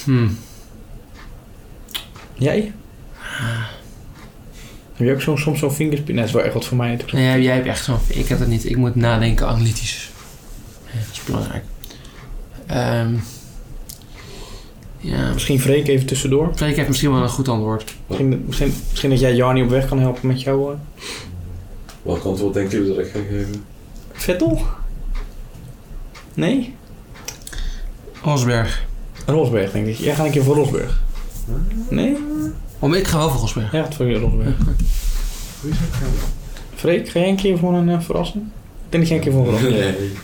A: Hmm.
B: Jij? Ah. Heb je ook zo, soms zo'n vingerspit... Nee, dat is wel echt wat voor mij.
A: Nee, jij- jij hebt echt zo'n... Ik heb dat niet. Ik moet nadenken analytisch. Ja, dat is belangrijk. Ehm, Ja,
B: Misschien Freek even tussendoor.
A: Freek heeft misschien wel een goed antwoord.
B: Misschien, misschien, misschien dat jij Jarni op weg kan helpen met jouw eh,
D: Welk antwoord denken jullie dat ik ga
A: [laughs]
D: geven?
B: Vettel? Nee?
A: Osberg.
B: Rosberg, denk ik. Jij gaat een keer voor Rosberg. Nee?
A: Om ik ga wel voor Osberg.
B: Ja, het voor Rosberg. Freek, ga jij een keer voor een eh, verrassing? Ik denk dat jij een keer voor een verrassing gaat.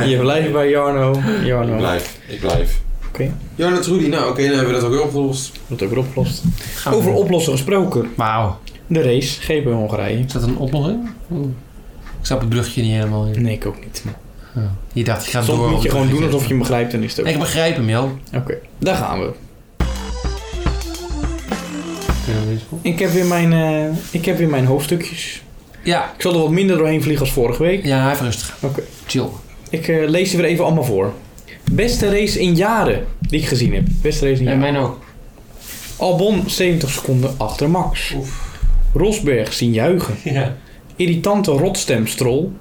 B: [laughs] Nee? Je blijft bij Jarno.
D: ik
B: Jarno.
D: blijf. Ik blijf.
B: Oké.
D: Ja, dat Rudy. Nou, oké, dan hebben we dat ook weer opgelost.
B: Dat ook weer opgelost.
A: Gaan we
B: Over
A: doen.
B: oplossen gesproken.
A: Wauw.
B: De race, GP Hongarije.
A: Is dat een oplossing? Oeh. Ik snap het brugje niet helemaal. in.
B: Nee, ik ook niet.
A: Ja. Je dacht, ik ga door.
B: Soms
A: op
B: moet je
A: het
B: gewoon doen
A: bruggetje.
B: alsof je hem begrijpt en is het ook.
A: Ik begrijp hem, joh.
B: Oké, daar gaan we. Ik heb weer mijn, eh, ik heb weer mijn hoofdstukjes.
A: Ja.
B: Ik zal er wat minder doorheen vliegen als vorige week.
A: Ja, even rustig.
B: Oké.
A: Chill.
B: Ik eh, lees ze weer even allemaal voor. Beste race in jaren die ik gezien heb. Beste race in
A: En
B: jaren.
A: mijn ook.
B: Albon 70 seconden achter Max. Rosberg zien juichen.
A: [laughs] Ja.
B: Irritante rotstemstrol.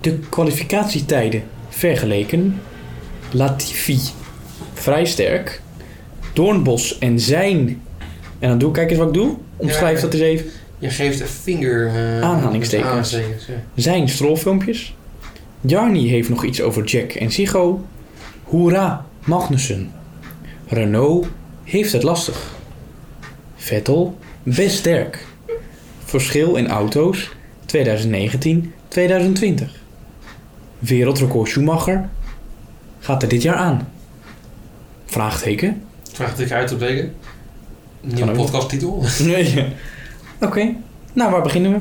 B: De kwalificatietijden vergeleken. Latifi vrij sterk. Doornbos en zijn. En dan doe ik, kijk eens wat ik doe. Omschrijf
A: Ja.
B: dat eens even.
A: Je geeft een vinger... eh,
B: Aanhalingstekens.
A: aanhalingstekens, ja.
B: Zijn strolfilmpjes. Jarni heeft nog iets over Jack en Sigo. Hoera, Magnussen. Renault heeft het lastig. Vettel, best sterk. Verschil in auto's 2019-2020. Wereldrecord Schumacher gaat er dit jaar aan. Vraagteken? [laughs]
A: Vraag het ik uit op teken. Nieuwe
B: Kan ook.
A: podcasttitel. [laughs]
B: Nee. Oké, nou waar beginnen we?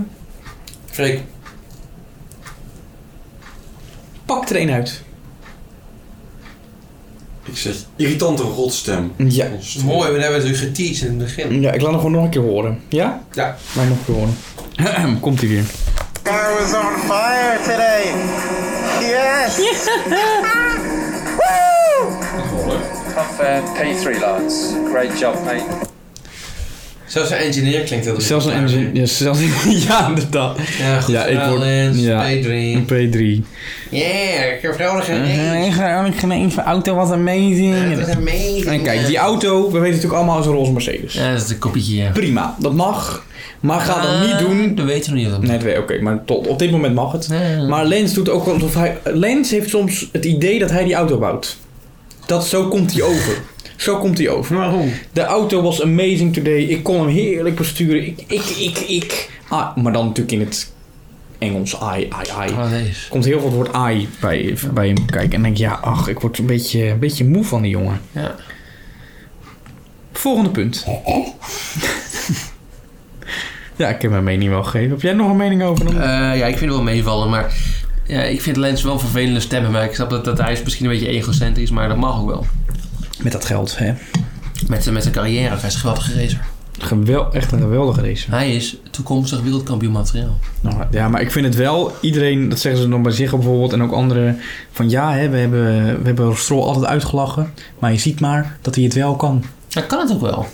A: Freek.
B: Pak er een uit.
D: Ik zeg irritante rotstem.
B: Ja.
A: Mooi, we hebben natuurlijk geteased in het begin.
B: Ja, ik laat hem gewoon nog een keer horen. Ja?
A: Ja.
B: Laat hem nog een keer horen. [clears throat] Komt hij weer.
E: Car was on fire today. Yes.
C: Tough uh, P3 lads. Great job, mate.
A: Zelfs een engineer klinkt heel
B: Zelfs een engine... Ja, zelfs [laughs] ja inderdaad.
A: Ja, goed.
B: Ja, ik word-
A: Lens,
B: ja.
A: P3.
B: P3.
A: Yeah, ik heb vrolijk gereden.
B: Eigenlijk geen één van auto was
A: Dat is
B: amazing.
A: amazing.
B: En kijk, die auto, we weten natuurlijk allemaal, is een roze Mercedes.
A: Ja, dat is een kopietje, ja.
B: Prima, dat mag. Maar ga dat
A: Ah,
B: niet doen.
A: Dat weten we niet. wat dat
B: Nee, dat weet- oké, maar tot, op dit moment mag het.
A: betreft.
B: Maar Lens doet ook wel alsof hij... Lens heeft soms het idee dat hij die auto bouwt. Dat, zo komt hij over. Zo komt hij over.
A: Waarom?
B: De auto was amazing today. Ik kon hem heerlijk besturen. Ik, ik, ik, ik. Ah, maar dan natuurlijk in het Engels. Ai, ai, ai.
A: Wat is?
B: Komt heel veel het woord ai bij, bij hem kijken. En dan denk ik, ja, ach, ik word een beetje, een beetje moe van die jongen.
A: Ja.
B: Volgende
A: [laughs]
B: punt. ja, ik heb mijn mening wel gegeven. Heb jij nog een mening over?
A: Eh,
B: Dan?
A: ja, ik vind het wel meevallen, maar ja, ik vind Lens wel een vervelende stemmen. Maar ik snap dat, dat hij is misschien een beetje egocentrisch, maar dat mag ook wel.
B: Met dat geld, hè.
A: Met, zijn- met zijn carrière, hij is een geweldige racer.
B: Gewel, echt een geweldige race.
A: Hij is toekomstig wereldkampioen materiaal.
B: Nou, ja, maar ik vind het wel, iedereen, dat zeggen ze dan bij zich bijvoorbeeld en ook anderen, van ja, hè, we, hebben, we hebben Stroll altijd uitgelachen, maar je ziet maar dat hij het wel kan.
A: Hij kan het ook wel.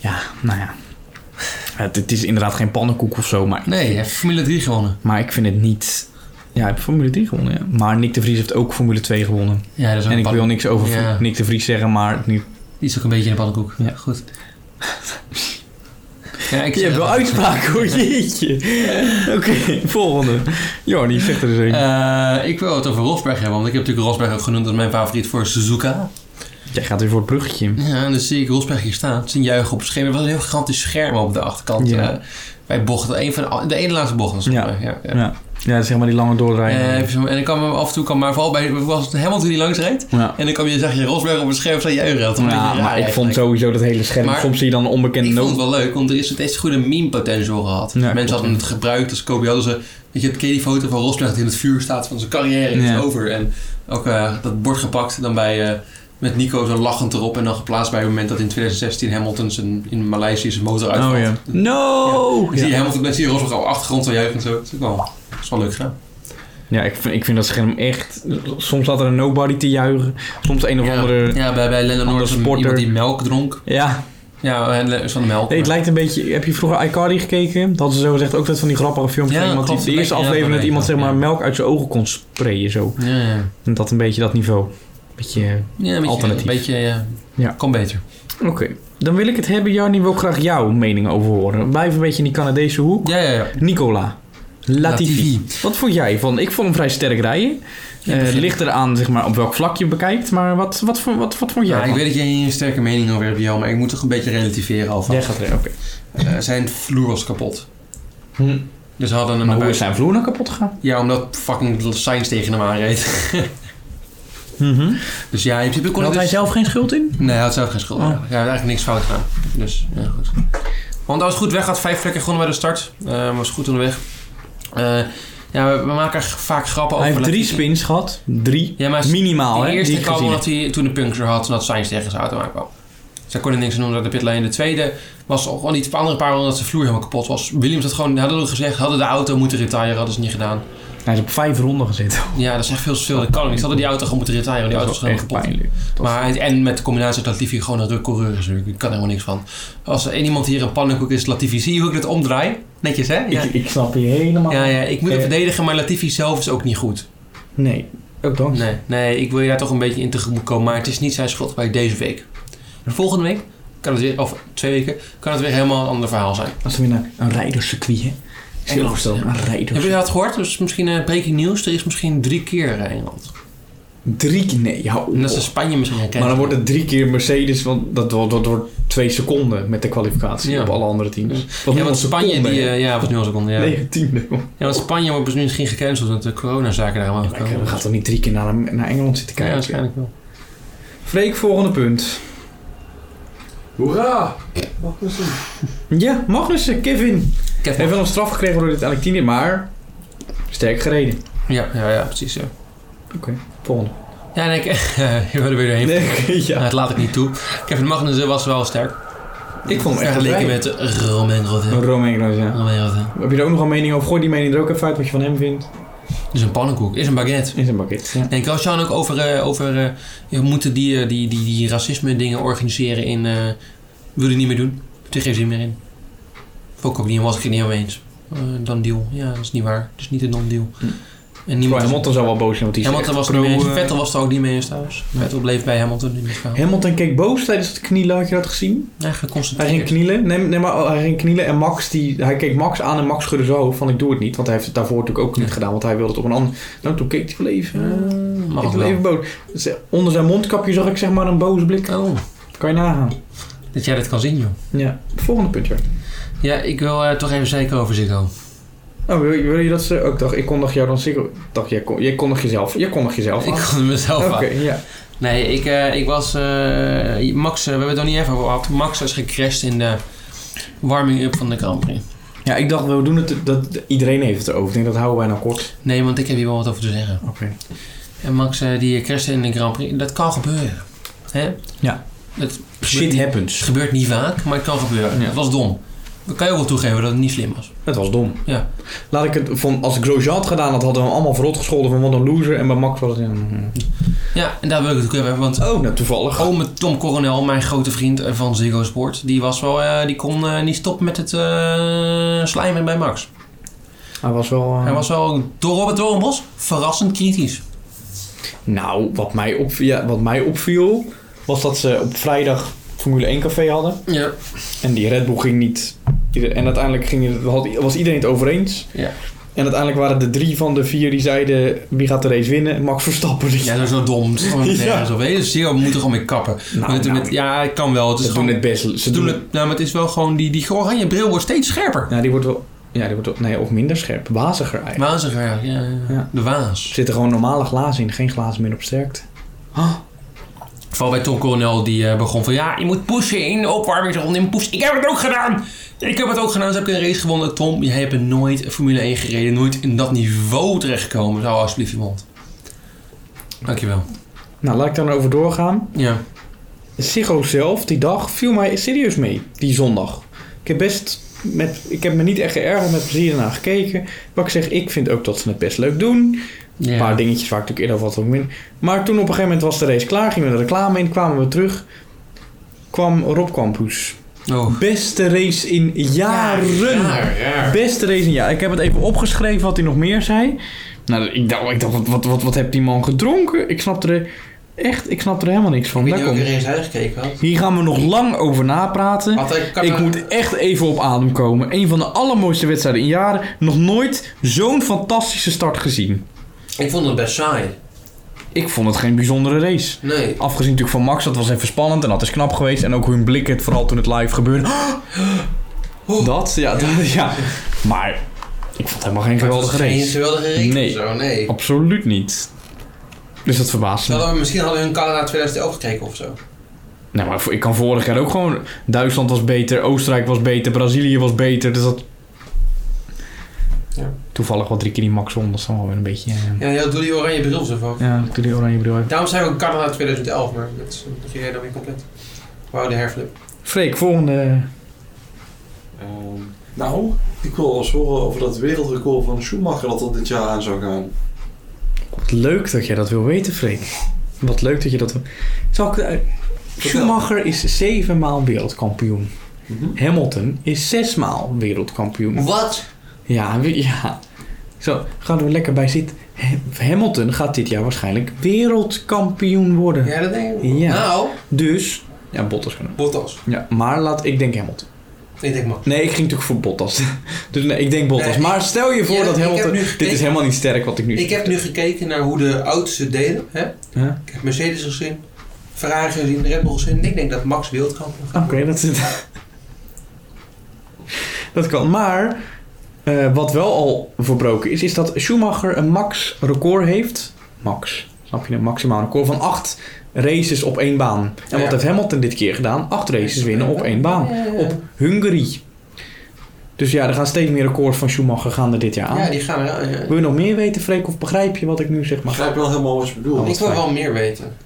B: Ja, nou ja. Het, het is inderdaad geen pannenkoek of zo, maar,
A: Nee, hij heeft Formule 3 gewonnen.
B: maar ik vind het niet... Ja, hij heeft Formule 3 gewonnen, ja. Maar Nick de Vries heeft ook Formule 2 gewonnen.
A: Ja, dat is ook
B: En
A: een
B: ik
A: pan-
B: wil niks over
A: Ja.
B: Nick de Vries zeggen, maar nu...
A: Die is ook een beetje in de pannenkoek.
B: Ja.
A: [laughs] goed. ja, ik
B: Je hebt wel
A: [laughs]
B: uitspraken, hoor, jeetje. Oké, volgende. Jordi, zegt er eens een.
A: Eh, ik wil het over Rosberg hebben, want ik heb natuurlijk Rosberg ook genoemd als mijn favoriet voor Suzuka.
B: Jij gaat weer voor het bruggetje.
A: Ja, en dan zie ik Rosberg hier staan, zien juichen op het scherm. Er was een heel gigantisch scherm op de achterkant.
B: Ja.
A: eh, bij bochten, een van de, de ene laatste bocht was het
B: Ja.
A: volgens mij, ja, ja.
B: Ja, ja zeg maar die lange doordraaien.
A: Eh, even zo- en ik kwam hem af en toe, kwam maar vooral bij was het Hamilton die langs reed.
B: ja.
A: En dan kwam je, zag je Rosberg op het scherm staan juichen. Dat was een
B: Ja,
A: beetje raar
B: maar ik vond
A: eigenlijk.
B: sowieso dat hele scherm.
A: Maar-
B: Soms zie je dan een onbekende
A: Ik vond het
B: noot.
A: wel leuk, want er is steeds goede meme-potential gehad.
B: Ja,
A: Mensen
B: klopt,
A: hadden
B: ja.
A: het gebruikt als Kobe hadden ze... Weet je, ken je die foto van Rosberg die in het vuur staat van zijn carrière is
B: Ja.
A: over. En ook eh, dat bord gepakt en dan bij, eh, met Nico zo lachend erop. En dan geplaatst bij het moment dat in 2016 Hamilton zijn, in Maleisië zijn motor uitvalt.
B: Oh ja. No!
A: Dan
B: Ja,
A: Zie je Hamilton, dan zie je Rosberg op de achtergrond zo juichen en zo. Dat is ook wel, dat is wel leuk gedaan.
B: Ja, ik, vind, ik vind dat scherm echt. Soms zat er een nobody te juichen. Soms een of andere. Ja.
A: ja, bij, bij Lennon
B: andere
A: Norris een-
B: sporter.
A: iemand die melk dronk. Ja, en Le- is van de melk.
B: Nee, het lijkt een beetje. Heb je vroeger Icardi gekeken? Dat hadden ze zo gezegd ook dat van die grappige filmpjes.
A: Ja,
B: van iemand die,
A: klopt.
B: de eerste
A: Ja,
B: aflevering
A: ja,
B: dat iemand
A: ja.
B: zeg maar melk uit zijn ogen kon sprayen zo.
A: Ja, ja.
B: En dat een beetje dat niveau. Beetje...
A: Ja, een beetje,
B: Alternatief.
A: Een beetje, ja.
B: Ja.
A: Kan beter.
B: Oké. Dan wil ik het hebben, Jarni, wil ik graag jouw mening over horen. We Blijven een beetje in die Canadese hoek.
A: Ja, ja, ja.
B: Nicola. Latifi. Wat vond jij van? Ik vond hem vrij sterk rijden. Eh, Het
A: begin.
B: ligt eraan zeg maar, op welk vlak je bekijkt. Maar wat, wat, vond- wat, wat vond jij?
A: Ja, ik
B: van?
A: weet dat jij hier een sterke mening over hebt, Jan, maar ik moet toch een beetje relativeren over.
B: Jij gaat erin, oké.
A: Eh, zijn vloer was kapot.
B: Hm.
A: Dus ze hadden hem
B: Maar
A: naar
B: hoe
A: buiten.
B: is zijn vloer nou kapot gegaan?
A: Ja, omdat fucking Sainz tegen hem aanreed. [laughs]
B: Mhm.
A: Dus ja, in principe kon
B: Had
A: ik
B: hij
A: dus...
B: zelf geen schuld in?
A: Nee, hij had zelf geen schuld.
B: Oh.
A: eigenlijk. Hij had eigenlijk niks fout gedaan. Dus, ja, goed. Want als het goed weg had, vijf plekken gewonnen bij de start. Eh, was goed onderweg. Eh, ja, we, we maken g- vaak grappen
B: Hij
A: over...
B: heeft drie
A: Latifi.
B: spins gehad. Drie.
A: Ja, maar
B: Minimaal,
A: de
B: hè?
A: eerste
B: die ik
A: kwam
B: gezien
A: omdat hij toen de puncture had en dat Sainz tegen zijn auto aankwam. Zij konden niks aan doen naar de pitlane. De tweede was al gewoon iets andere paar omdat de vloer helemaal kapot was. Williams had gewoon, hadden we gezegd, hadden de auto moeten retiren, hadden ze niet gedaan.
B: heb. Hij is op vijf ronden gezeten.
A: Ja, dat is echt veel te veel. Dat kan niet. Ze hadden die auto gewoon moeten retiren, Oh, die
B: Dat
A: auto
B: was
A: is
B: wel
A: helemaal
B: echt
A: kapot.
B: pijnlijk. Dat was-
A: Maar, hij- en met de combinatie dat Latifi gewoon een coureur is. natuurlijk. Ik kan er helemaal niks van. Als er één iemand hier een pannenkoek is, Latifi. Zie je hoe ik dat omdraai? Netjes, hè? Ja,
B: ik, ik snap je helemaal.
A: ja, ja ik moet hem
B: Eh.
A: verdedigen, maar Latifi zelf is ook niet goed.
B: Nee, ook dan.
A: Nee, nee, ik wil je daar toch een beetje in tegemoet komen. Maar het is niet zijn schuld bij deze week. Volgende week, kan het weer, of twee weken, kan het weer helemaal een ander verhaal zijn.
B: Als we weer naar een rijderscircuit, hè? Silverstone, een
A: Heb je
B: rijders.
A: dat gehoord? Dus misschien eh, breaking news. Er is misschien drie keer eh, Engeland.
B: Drie keer, nee, ja,
A: En dat
B: oh.
A: is in Spanje misschien gekend.
B: Maar dan wordt het drie keer Mercedes, want dat, wordt- dat wordt twee seconden met de kwalificatie
A: Ja.
B: op alle andere teams. Wat
A: Ja, want Spanje, die, eh, ja, was nu al seconde, ja.
B: Negentiende.
A: ja, want Spanje wordt dus misschien gecanceld omdat de coronazaken daar allemaal
B: We
A: gekomen
B: gaan toch niet drie keer naar, naar Engeland zitten
A: Ja,
B: kijken?
A: waarschijnlijk wel.
B: Freek, volgende punt.
D: Hoera! Wat is het?
B: Ja, Magnussen, Kevin. Heeft
A: Kevin.
B: wel een straf gekregen door dit Alectine, maar sterk gereden.
A: Ja, ja, ja, precies. Ja,
B: Volgende.
A: ja en ik... [laughs] je wilde er weer doorheen.
B: Nee, [laughs]
A: Nou,
B: ja.
A: dat laat ik niet toe. Kevin Magnussen was wel sterk.
B: Ik vond hem echt
A: Vergeleken
B: lekker.
A: met Romain Rotten.
B: Romain Grosjean.
A: Romain Rotten.
B: Heb je er ook nog een mening over? Gooi die mening er ook even uit wat je van hem vindt.
A: is Dus een pannenkoek, is een baguette.
B: In zijn bakket. Ja.
A: En Grosjean ook over, eh, over eh, we moeten die, eh, die, die, die racisme dingen organiseren in, eh wil je niet meer doen. Heb er geen zin meer in. Vond ik ook niet, was ik het niet helemaal eens. Eh dan deal, ja, dat is niet waar. Het is niet een non-deal.
B: Hm.
A: En
B: Terwijl
A: niemand is-
B: Hamilton zou wel boos zijn, want die is
A: Hamilton
B: echt
A: was er niet mee
B: pro,
A: eens.
B: eh,
A: Vettel was er ook niet mee eens trouwens. Vettel bleef bij Hamilton in dit verhaal.
B: Hamilton keek boos tijdens het knielen, had je dat gezien?
A: Ja,
B: Hij
A: geconcentreerd.
B: ging knielen, nee, nee maar oh, hij ging knielen en Max, die, hij keek Max aan en Max schudde zo hoofd van ik doe het niet. Want hij heeft het daarvoor natuurlijk ook niet gedaan, want hij wilde het op een ander... Nou, toen keek hij wel even, eh,
A: Eh, Mag
B: ik
A: ook
B: wil even
A: wel.
B: boos. Dus, eh, onder zijn mondkapje zag ik zeg maar een boze blik.
A: Oh,
B: Kan je nagaan.
A: dat jij dat kan zien, joh.
B: Ja, volgende puntje.
A: Ja, ik wil eh, toch even zeker over Ziggo.
B: Oh, wil, wil je dat ze ook dacht, ik kondig jou dan zeker... Dacht, jij, kon, jij kondig jezelf, jij kondig jezelf
A: Ik
B: aan.
A: kon mezelf
B: Oké,
A: aan.
B: ja.
A: Nee, ik, eh, ik was. eh, Max, eh, we hebben het nog niet even over gehad. Max is gecrashed in de warming-up van de Grand Prix.
B: Ja, ik dacht, we doen het, dat, iedereen heeft het erover. Ik denk, dat houden wij nou kort.
A: Nee, want ik heb hier wel wat over te zeggen.
B: Oké.
A: En Max, eh, die crashte in de Grand Prix, dat kan gebeuren. Hè?
B: Ja.
A: Dat gebeurt,
B: Shit
A: niet,
B: happens.
A: gebeurt niet vaak, maar het kan gebeuren.
B: Ja.
A: Het was dom. Dan kan je ook wel toegeven dat het niet slim was.
B: Het was dom.
A: Ja.
B: Laat ik het van, als Grosjean had gedaan, had, hadden we hem allemaal verrot gescholden van wat een loser. En bij Max was het. ja, mm.
A: Ja, en daar wil ik het ook even hebben, want.
B: Oh, nou toevallig.
A: Ome Tom Coronel, mijn grote vriend eh, van Ziggo Sport, die, was wel, eh, die kon eh, niet stoppen met het eh, slijmen bij Max.
B: Hij was wel. eh,
A: Hij was wel door Robert Doornbos verrassend kritisch.
B: Nou, wat mij, op, ja, wat mij opviel, was dat ze op vrijdag Formule 1 café hadden.
A: Ja.
B: En die Red Bull ging niet. En uiteindelijk ging, het- had, was iedereen het over eens.
A: Ja.
B: En uiteindelijk waren er drie van de vier die zeiden wie gaat de race winnen. Max Verstappen. Dus
A: Ja, dat is wel [laughs] dom. Het is gewoon
B: Ja.
A: nergens op. Hele zero moet er gewoon mee kappen. Maar het-
B: nou,
A: met- ja, het kan wel. Het is
B: ze
A: gewoon,
B: doen het best. Ze
A: ze doen het, nou, maar het is wel gewoon... Die, die oranje bril wordt steeds scherper.
B: Ja, die wordt wel. Ja, die wordt wel. Nee, of minder scherp. Waziger eigenlijk.
A: Waziger, ja, ja, ja.
B: Ja.
A: De
B: Er
A: waas.
B: zitten gewoon normale glazen in, geen glazen meer op sterkte.
A: Vooral bij Tom Coronel, die eh, begon van... Ja, je moet pushen in de opwarmingsronde. Je moet pushen. Ik heb het ook gedaan. Ik heb het ook gedaan. Ze hebben een race gewonnen. Tom, jij hebt nooit Formule 1 gereden. Nooit in dat niveau terechtgekomen. Hou alsjeblieft je mond. Dankjewel.
B: Nou, laat ik daar nou over doorgaan.
A: Ja.
B: Siggo zelf, die dag, viel mij serieus mee. Die zondag. Ik heb best... Met, ik heb me niet echt geërgerd met plezier naar gekeken. Wat ik zeg, ik vind ook dat ze het best leuk doen.
A: ja.
B: Een paar dingetjes waar ik natuurlijk eerder wat ook min. Maar toen op een gegeven moment was de race klaar. Gingen we de reclame in, kwamen we terug. Kwam Rob Campus.
A: Oh.
B: Beste race in jaren. Beste race in jaar. Ik heb het even opgeschreven wat hij nog meer zei. Nou, ik dacht, ik dacht wat, wat, wat, wat heeft die man gedronken? Ik snapte er Echt, ik snap er helemaal niks van.
D: Ik weet
B: Daar
D: niet of
B: komt-
D: iedereen zijn eigen gekeken had.
B: Hier gaan we nog lang over napraten.
D: Had hij-
B: Ik moet echt even op adem komen. Een van de allermooiste wedstrijden in jaren. Nog nooit zo'n fantastische start gezien.
D: ik vond het best saai.
B: Ik vond het geen bijzondere race.
D: Nee.
B: Afgezien natuurlijk van Max, dat was even spannend en dat is knap geweest. En ook hun blik, het, vooral toen het live gebeurde.
D: Oh.
B: Dat, ja, dat, ja. Maar ik vond helemaal geen geweldige
D: Het was Geen
B: race.
D: geweldige race
B: Nee.
D: of zo, nee.
B: Absoluut niet. Dus dat verbaast me.
D: Terwijl we misschien hadden we hun Canada 2011 gekeken of zo.
B: Nee, maar ik kan vorig jaar ook gewoon... Duitsland was beter, Oostenrijk was beter, Brazilië was beter. Dus dat...
D: Ja.
B: Toevallig wel drie keer die Max won, dat is dan wel weer een beetje... eh,
D: Ja, heel doe die oranje bril zo van.
B: Ja, ik doe die oranje bril even.
D: Daarom zijn we ook Canada 2011, maar dat is dat ging jij dan weer compleet. Wauw, de herflip.
B: Freek, volgende...
F: Ehm, nou, ik wil wel eens horen over dat wereldrecord van Schumacher dat er dit jaar aan zou gaan.
B: Wat leuk dat jij dat wil weten, Freek. Wat leuk dat je dat wil... Zal ik... eh, Schumacher is zeven maal wereldkampioen.
F: Mhm.
B: Hamilton is zes maal wereldkampioen.
D: Wat?
B: Ja, we- ja. Zo, gaan we er lekker bij zitten. Ha- Hamilton gaat dit jaar waarschijnlijk wereldkampioen worden.
D: Ja, dat denk ik.
B: Ja.
D: Nou,
B: Dus... Ja, Bottas kunnen.
D: Bottas.
B: Ja, maar laat... Ik denk Hamilton.
D: Ik denk man.
B: Nee, ik ging natuurlijk voor Bottas. [laughs] Dus nee, ik denk Bottas.
D: Nee, ik-
B: maar stel je voor
D: Ja,
B: dat
D: ik heb
B: Hamilton...
D: nu
B: Dit
D: gekeken-
B: is helemaal niet sterk wat ik nu
D: Ik heb nu gekeken naar hoe de oudste deden. Hè?
B: Ja.
D: Ik heb Mercedes gezien, Ferrari gezien, Red Bull gezien. Ik denk dat Max wereldkampioen
B: Oké,
D: gaat.
B: dat is het. Dat kan. Maar eh, wat wel al verbroken is, is dat Schumacher een max-record heeft. Max, snap je? Een maximaal record van acht races op één baan. En wat
D: ja.
B: heeft Hamilton dit keer gedaan? Acht races winnen op één baan. Op Hungary. Dus ja, er gaan steeds meer records van Schumacher gaan er dit jaar aan.
D: Ja, die gaan eraan. ja.
B: Wil je nog meer weten, Freek, of begrijp je wat ik nu zeg?
F: Ik
B: Maar...
F: begrijp wel helemaal wat je bedoelt.
D: Ik wil
B: fijn.
D: wel meer weten.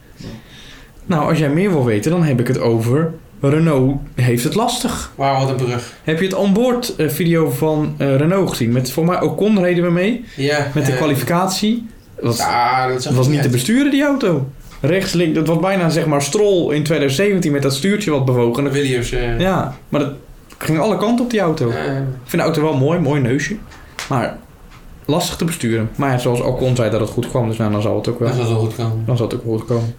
B: Nou, als jij meer wil weten, dan heb ik het over... Renault heeft het lastig.
D: Wauw, wat een brug.
B: Heb je het onboard eh, video van eh, Renault gezien? Met voor mij Ocon reden we mee.
D: Ja,
B: Met de
D: eh,
B: kwalificatie. Dat was,
D: Ja, dat
B: dat was niet te besturen, die auto. Rechts, links. Dat was bijna zeg maar strol in 2017 met dat stuurtje wat bewogen.
D: Van de Williams. eh.
B: Ja, maar dat ging alle kanten op die auto.
D: Eh,
B: Ik vind de auto wel mooi, mooi neusje. Maar lastig te besturen. Maar ja, zoals Ocon zei dat het goed kwam, dus nou, dan zal het ook wel.
D: dat zal wel goed komen.
B: Dan zal het ook wel goed komen.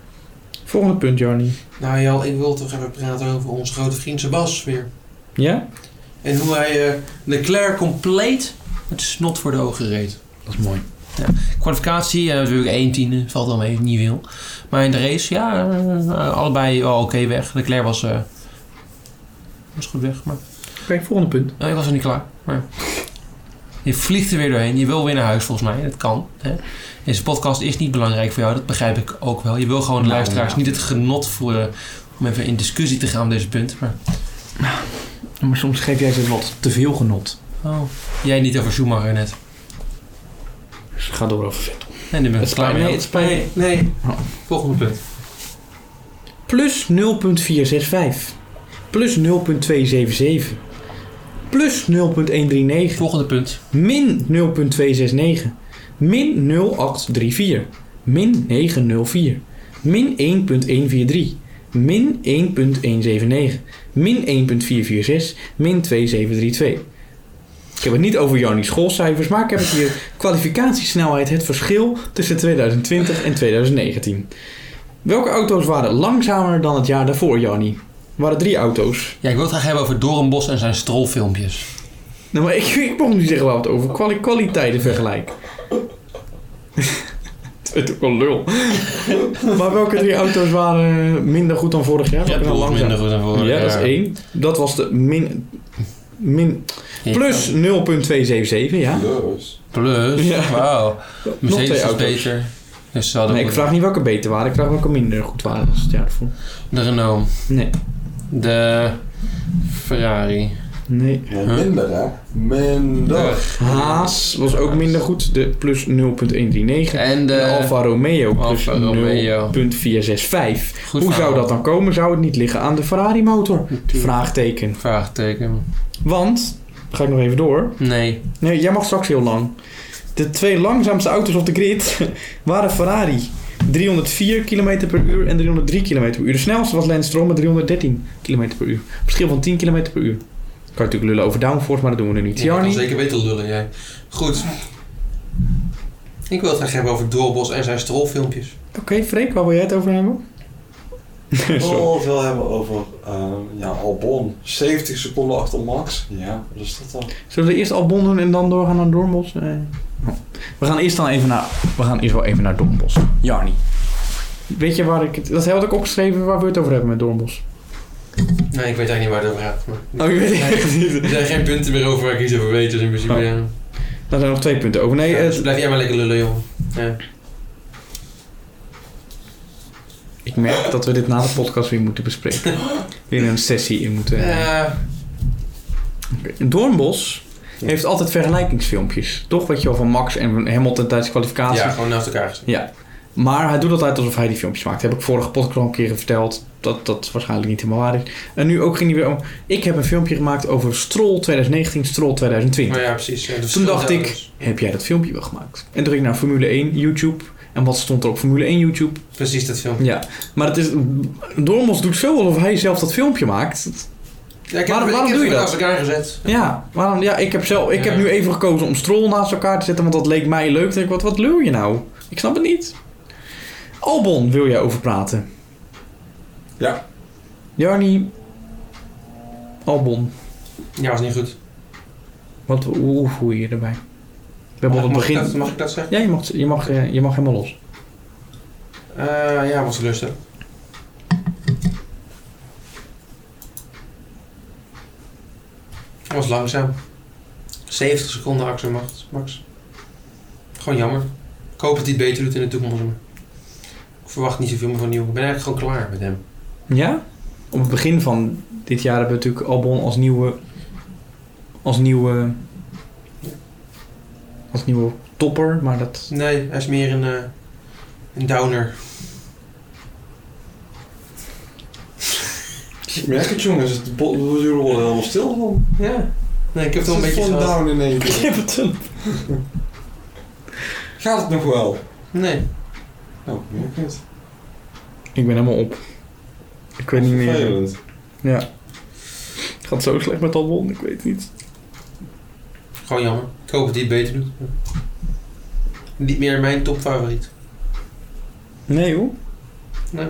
B: Volgende punt, Jarny.
D: Nou Jal, ik wil toch even praten over onze grote vriend Sebas weer.
B: Ja?
D: En hoe hij eh Leclerc compleet met snot voor de ogen reed.
B: Dat is mooi.
A: Kwalificatie, eh, natuurlijk 1 tiende, valt wel mee, niet veel. Maar in de race, ja, eh, allebei wel oké weg. Leclerc was, eh, was goed weg, maar
B: Oké, volgende punt.
A: nou, ik was nog niet klaar. Maar je vliegt er weer doorheen, je wil weer naar huis volgens mij, dat kan. Hè? Deze podcast is niet belangrijk voor jou, dat begrijp ik ook wel. Je wil gewoon de
B: Nou,
A: luisteraars
B: ja.
A: niet het genot voeren om even in discussie te gaan op deze punt. Maar
B: Maar soms geef jij ze wat te veel genot.
A: oh, jij niet over Schumacher net.
B: Dus ga door over verder.
A: Nee, nu ben ik
B: Het spijt
A: klaar
B: me,
A: mee.
B: het spijt me.
D: Nee.
B: Oh.
D: Volgende punt.
B: plus 0.465, plus 0.277, plus 0.139,
A: Volgende punt.
B: min 0.269, min 0834, min 904, min 1.143, min 1.179, min 1.446, min 2732. Ik heb het niet over Jarnie schoolcijfers, maar ik heb het hier kwalificatiesnelheid, het verschil tussen 2020 en 2019. Welke auto's waren langzamer dan het jaar daarvoor, Jarnie? Er waren drie auto's.
A: Ja, ik wil het graag hebben over Doornbos en zijn strolfilmpjes.
B: Nou, maar ik, [laughs] ik mocht nu zeggen waar we het over kwali kwaliteiten vergelijken. [laughs] Het is ook wel lul. maar welke drie auto's waren minder goed dan vorig jaar?
A: Red
B: Welke
A: Bull
B: waren
A: was
B: langzaam?
A: minder goed dan vorig
B: Ja, dat is
A: jaar.
B: één. Dat was de min... min
A: Ja.
B: plus 0.277, ja.
D: Dus.
A: Plus,
B: Ja.
A: wauw.
B: Nog twee
A: Mercedes is
B: auto's.
A: beter. Dus ze hadden
B: Nee, ik vraag niet welke beter waren. Ik vraag welke minder goed waren als het jaar ervoor.
A: de Renault,
B: Nee.
A: de Ferrari.
B: Nee.
F: Ja, minder hè? Minder.
B: Haas was ook minder goed. De plus 0.139.
A: En de,
B: De Alfa Romeo plus
A: Alfa Romeo.
B: 0.465.
A: Goed
B: Hoe
A: verhaal.
B: zou dat dan komen? Zou het niet liggen aan de Ferrari motor? Vraagteken.
A: Vraagteken.
B: Want, ga ik nog even door.
A: Nee.
B: Nee, jij mag straks heel lang. De twee langzaamste auto's op de grid [laughs] waren Ferrari. 304 km per uur en 303 km per uur. De snelste was Lance Stroll met 313 km per uur. Verschil van 10 km per uur. Kan je natuurlijk lullen over downforce, maar dat doen we nu niet.
D: Ik kan
B: Jarny?
D: zeker weten lullen jij. Goed. Ik wil het graag hebben over Doorbos en zijn strolfilmpjes.
B: Oké, Freek, waar wil jij het over hebben? Sorry.
F: Oh, veel hebben over eh, ja, Albon. 70 seconden achter Max. Ja, wat is dat dan?
B: Zullen we eerst Albon doen en dan doorgaan naar Dormos? Eh, We gaan eerst dan even naar... We gaan eerst wel even naar Dormos. Jarni. Weet je waar ik het... Dat had ik opgeschreven waar we het over hebben met Dormos.
D: Nee, ik weet eigenlijk niet waar het over gaat. maar-
B: Oh, ik weet het echt
D: [laughs] Er
B: niet.
D: zijn geen punten meer over waar ik iets over weet, dus in principe...
B: Oh.
D: ja.
B: [laughs] Daar zijn nog twee punten over. Nee,
D: Ja,
B: het-
D: dus blijf jij maar lekker lullen, jongen.
B: ik merk dat we dit na de podcast weer moeten [laughs] bespreken. Weer een sessie in moeten...
D: Eh,
B: Doornbos heeft altijd vergelijkingsfilmpjes. Toch? Weet je wel, van Max en van Hamilton tijdens de kwalificatie.
D: ja, gewoon naast elkaar gezet.
B: Ja. Maar hij doet altijd alsof hij die filmpjes maakt. heb ik vorige podcast al een keer verteld. Dat dat waarschijnlijk niet helemaal waar is. En nu ook ging hij weer om. Ik heb een filmpje gemaakt over Stroll 2019, Stroll 2020.
D: Maar ja, precies. ja, de
B: Toen dacht
D: verschillende
B: ik,
D: auto's.
B: heb jij dat filmpje wel gemaakt? En toen ging ik naar Formule 1 YouTube. En wat stond er op Formule 1 YouTube?
D: Precies dat filmpje.
B: Ja. Maar het is... Dormos doet zo alsof hij zelf dat filmpje maakt.
D: Ja, ik heb,
B: Waarom-
D: ik
B: waarom
D: heb
B: doe je
D: het
B: dat?
D: naast elkaar gezet.
B: Ja, waarom? Ja, ik heb, zelf, ik
D: Ja.
B: heb nu even gekozen om Stroll naast elkaar te zetten, want dat leek mij leuk. Dan Denk ik, wat, wat lul je nou? Ik snap het niet. Albon wil jij over praten?
F: Ja.
B: Jarni, Albon,
D: Ja, was niet goed.
B: wat, hoe, hoe voel je je erbij? We hebben
D: Mag-
B: al het
D: mag ik dat-
B: begin...
D: Mag ik dat zeggen?
B: Ja, je mag, je, mag, eh, je mag helemaal los.
D: Eh, ja, was lustig. was langzaam. 70 seconden actie max. max. Gewoon jammer. Ik hoop dat hij het beter doet in de toekomst. maar Ik verwacht niet zoveel meer van die jongen. Ik ben eigenlijk gewoon klaar met hem.
B: Ja? Op het begin van dit jaar hebben we natuurlijk Albon als nieuwe... Als nieuwe... Als nieuwe topper, maar
D: [laughs]
B: dat...
D: Nee, hij is meer een, eh, een downer.
F: Ik merk het jongens, het bo- we worden er helemaal stil van.
D: Ja. Nee, ik heb het wel een
F: Het is
D: beetje
F: gewoon
D: gehad.
F: down in één keer.
B: Hamilton.
F: Gaat het nog wel?
D: Nee.
F: Nou, ik merk het.
B: Ik ben helemaal op. Ik weet niet meer.
F: Vervelend.
B: Het gaat zo slecht met Albon, ik weet niet.
D: Gewoon jammer. Ik hoop dat hij het beter doet. Niet meer mijn topfavoriet.
B: Nee hoor.
D: Nee.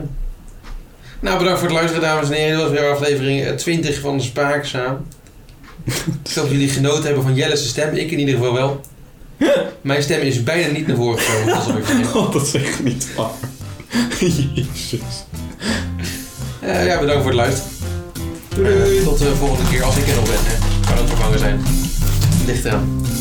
D: Nou, bedankt voor het luisteren, dames en heren. Dit was weer aflevering eh, 20 van de Spaakzaam. Ik hoop dat jullie genoten hebben van Jelle's stem. Ik in ieder geval wel. Mijn stem is bijna niet naar voren gekomen. dat zal ik zeggen.
B: Oh, [laughs] dat zeg ik niet [laughs] waar. Jezus.
D: Eh, ja, bedankt voor het luisteren. Doei, doei. Tot de volgende keer, als ik er nog ben. Hè. Kan ook vervangen zijn. Ligt eraan.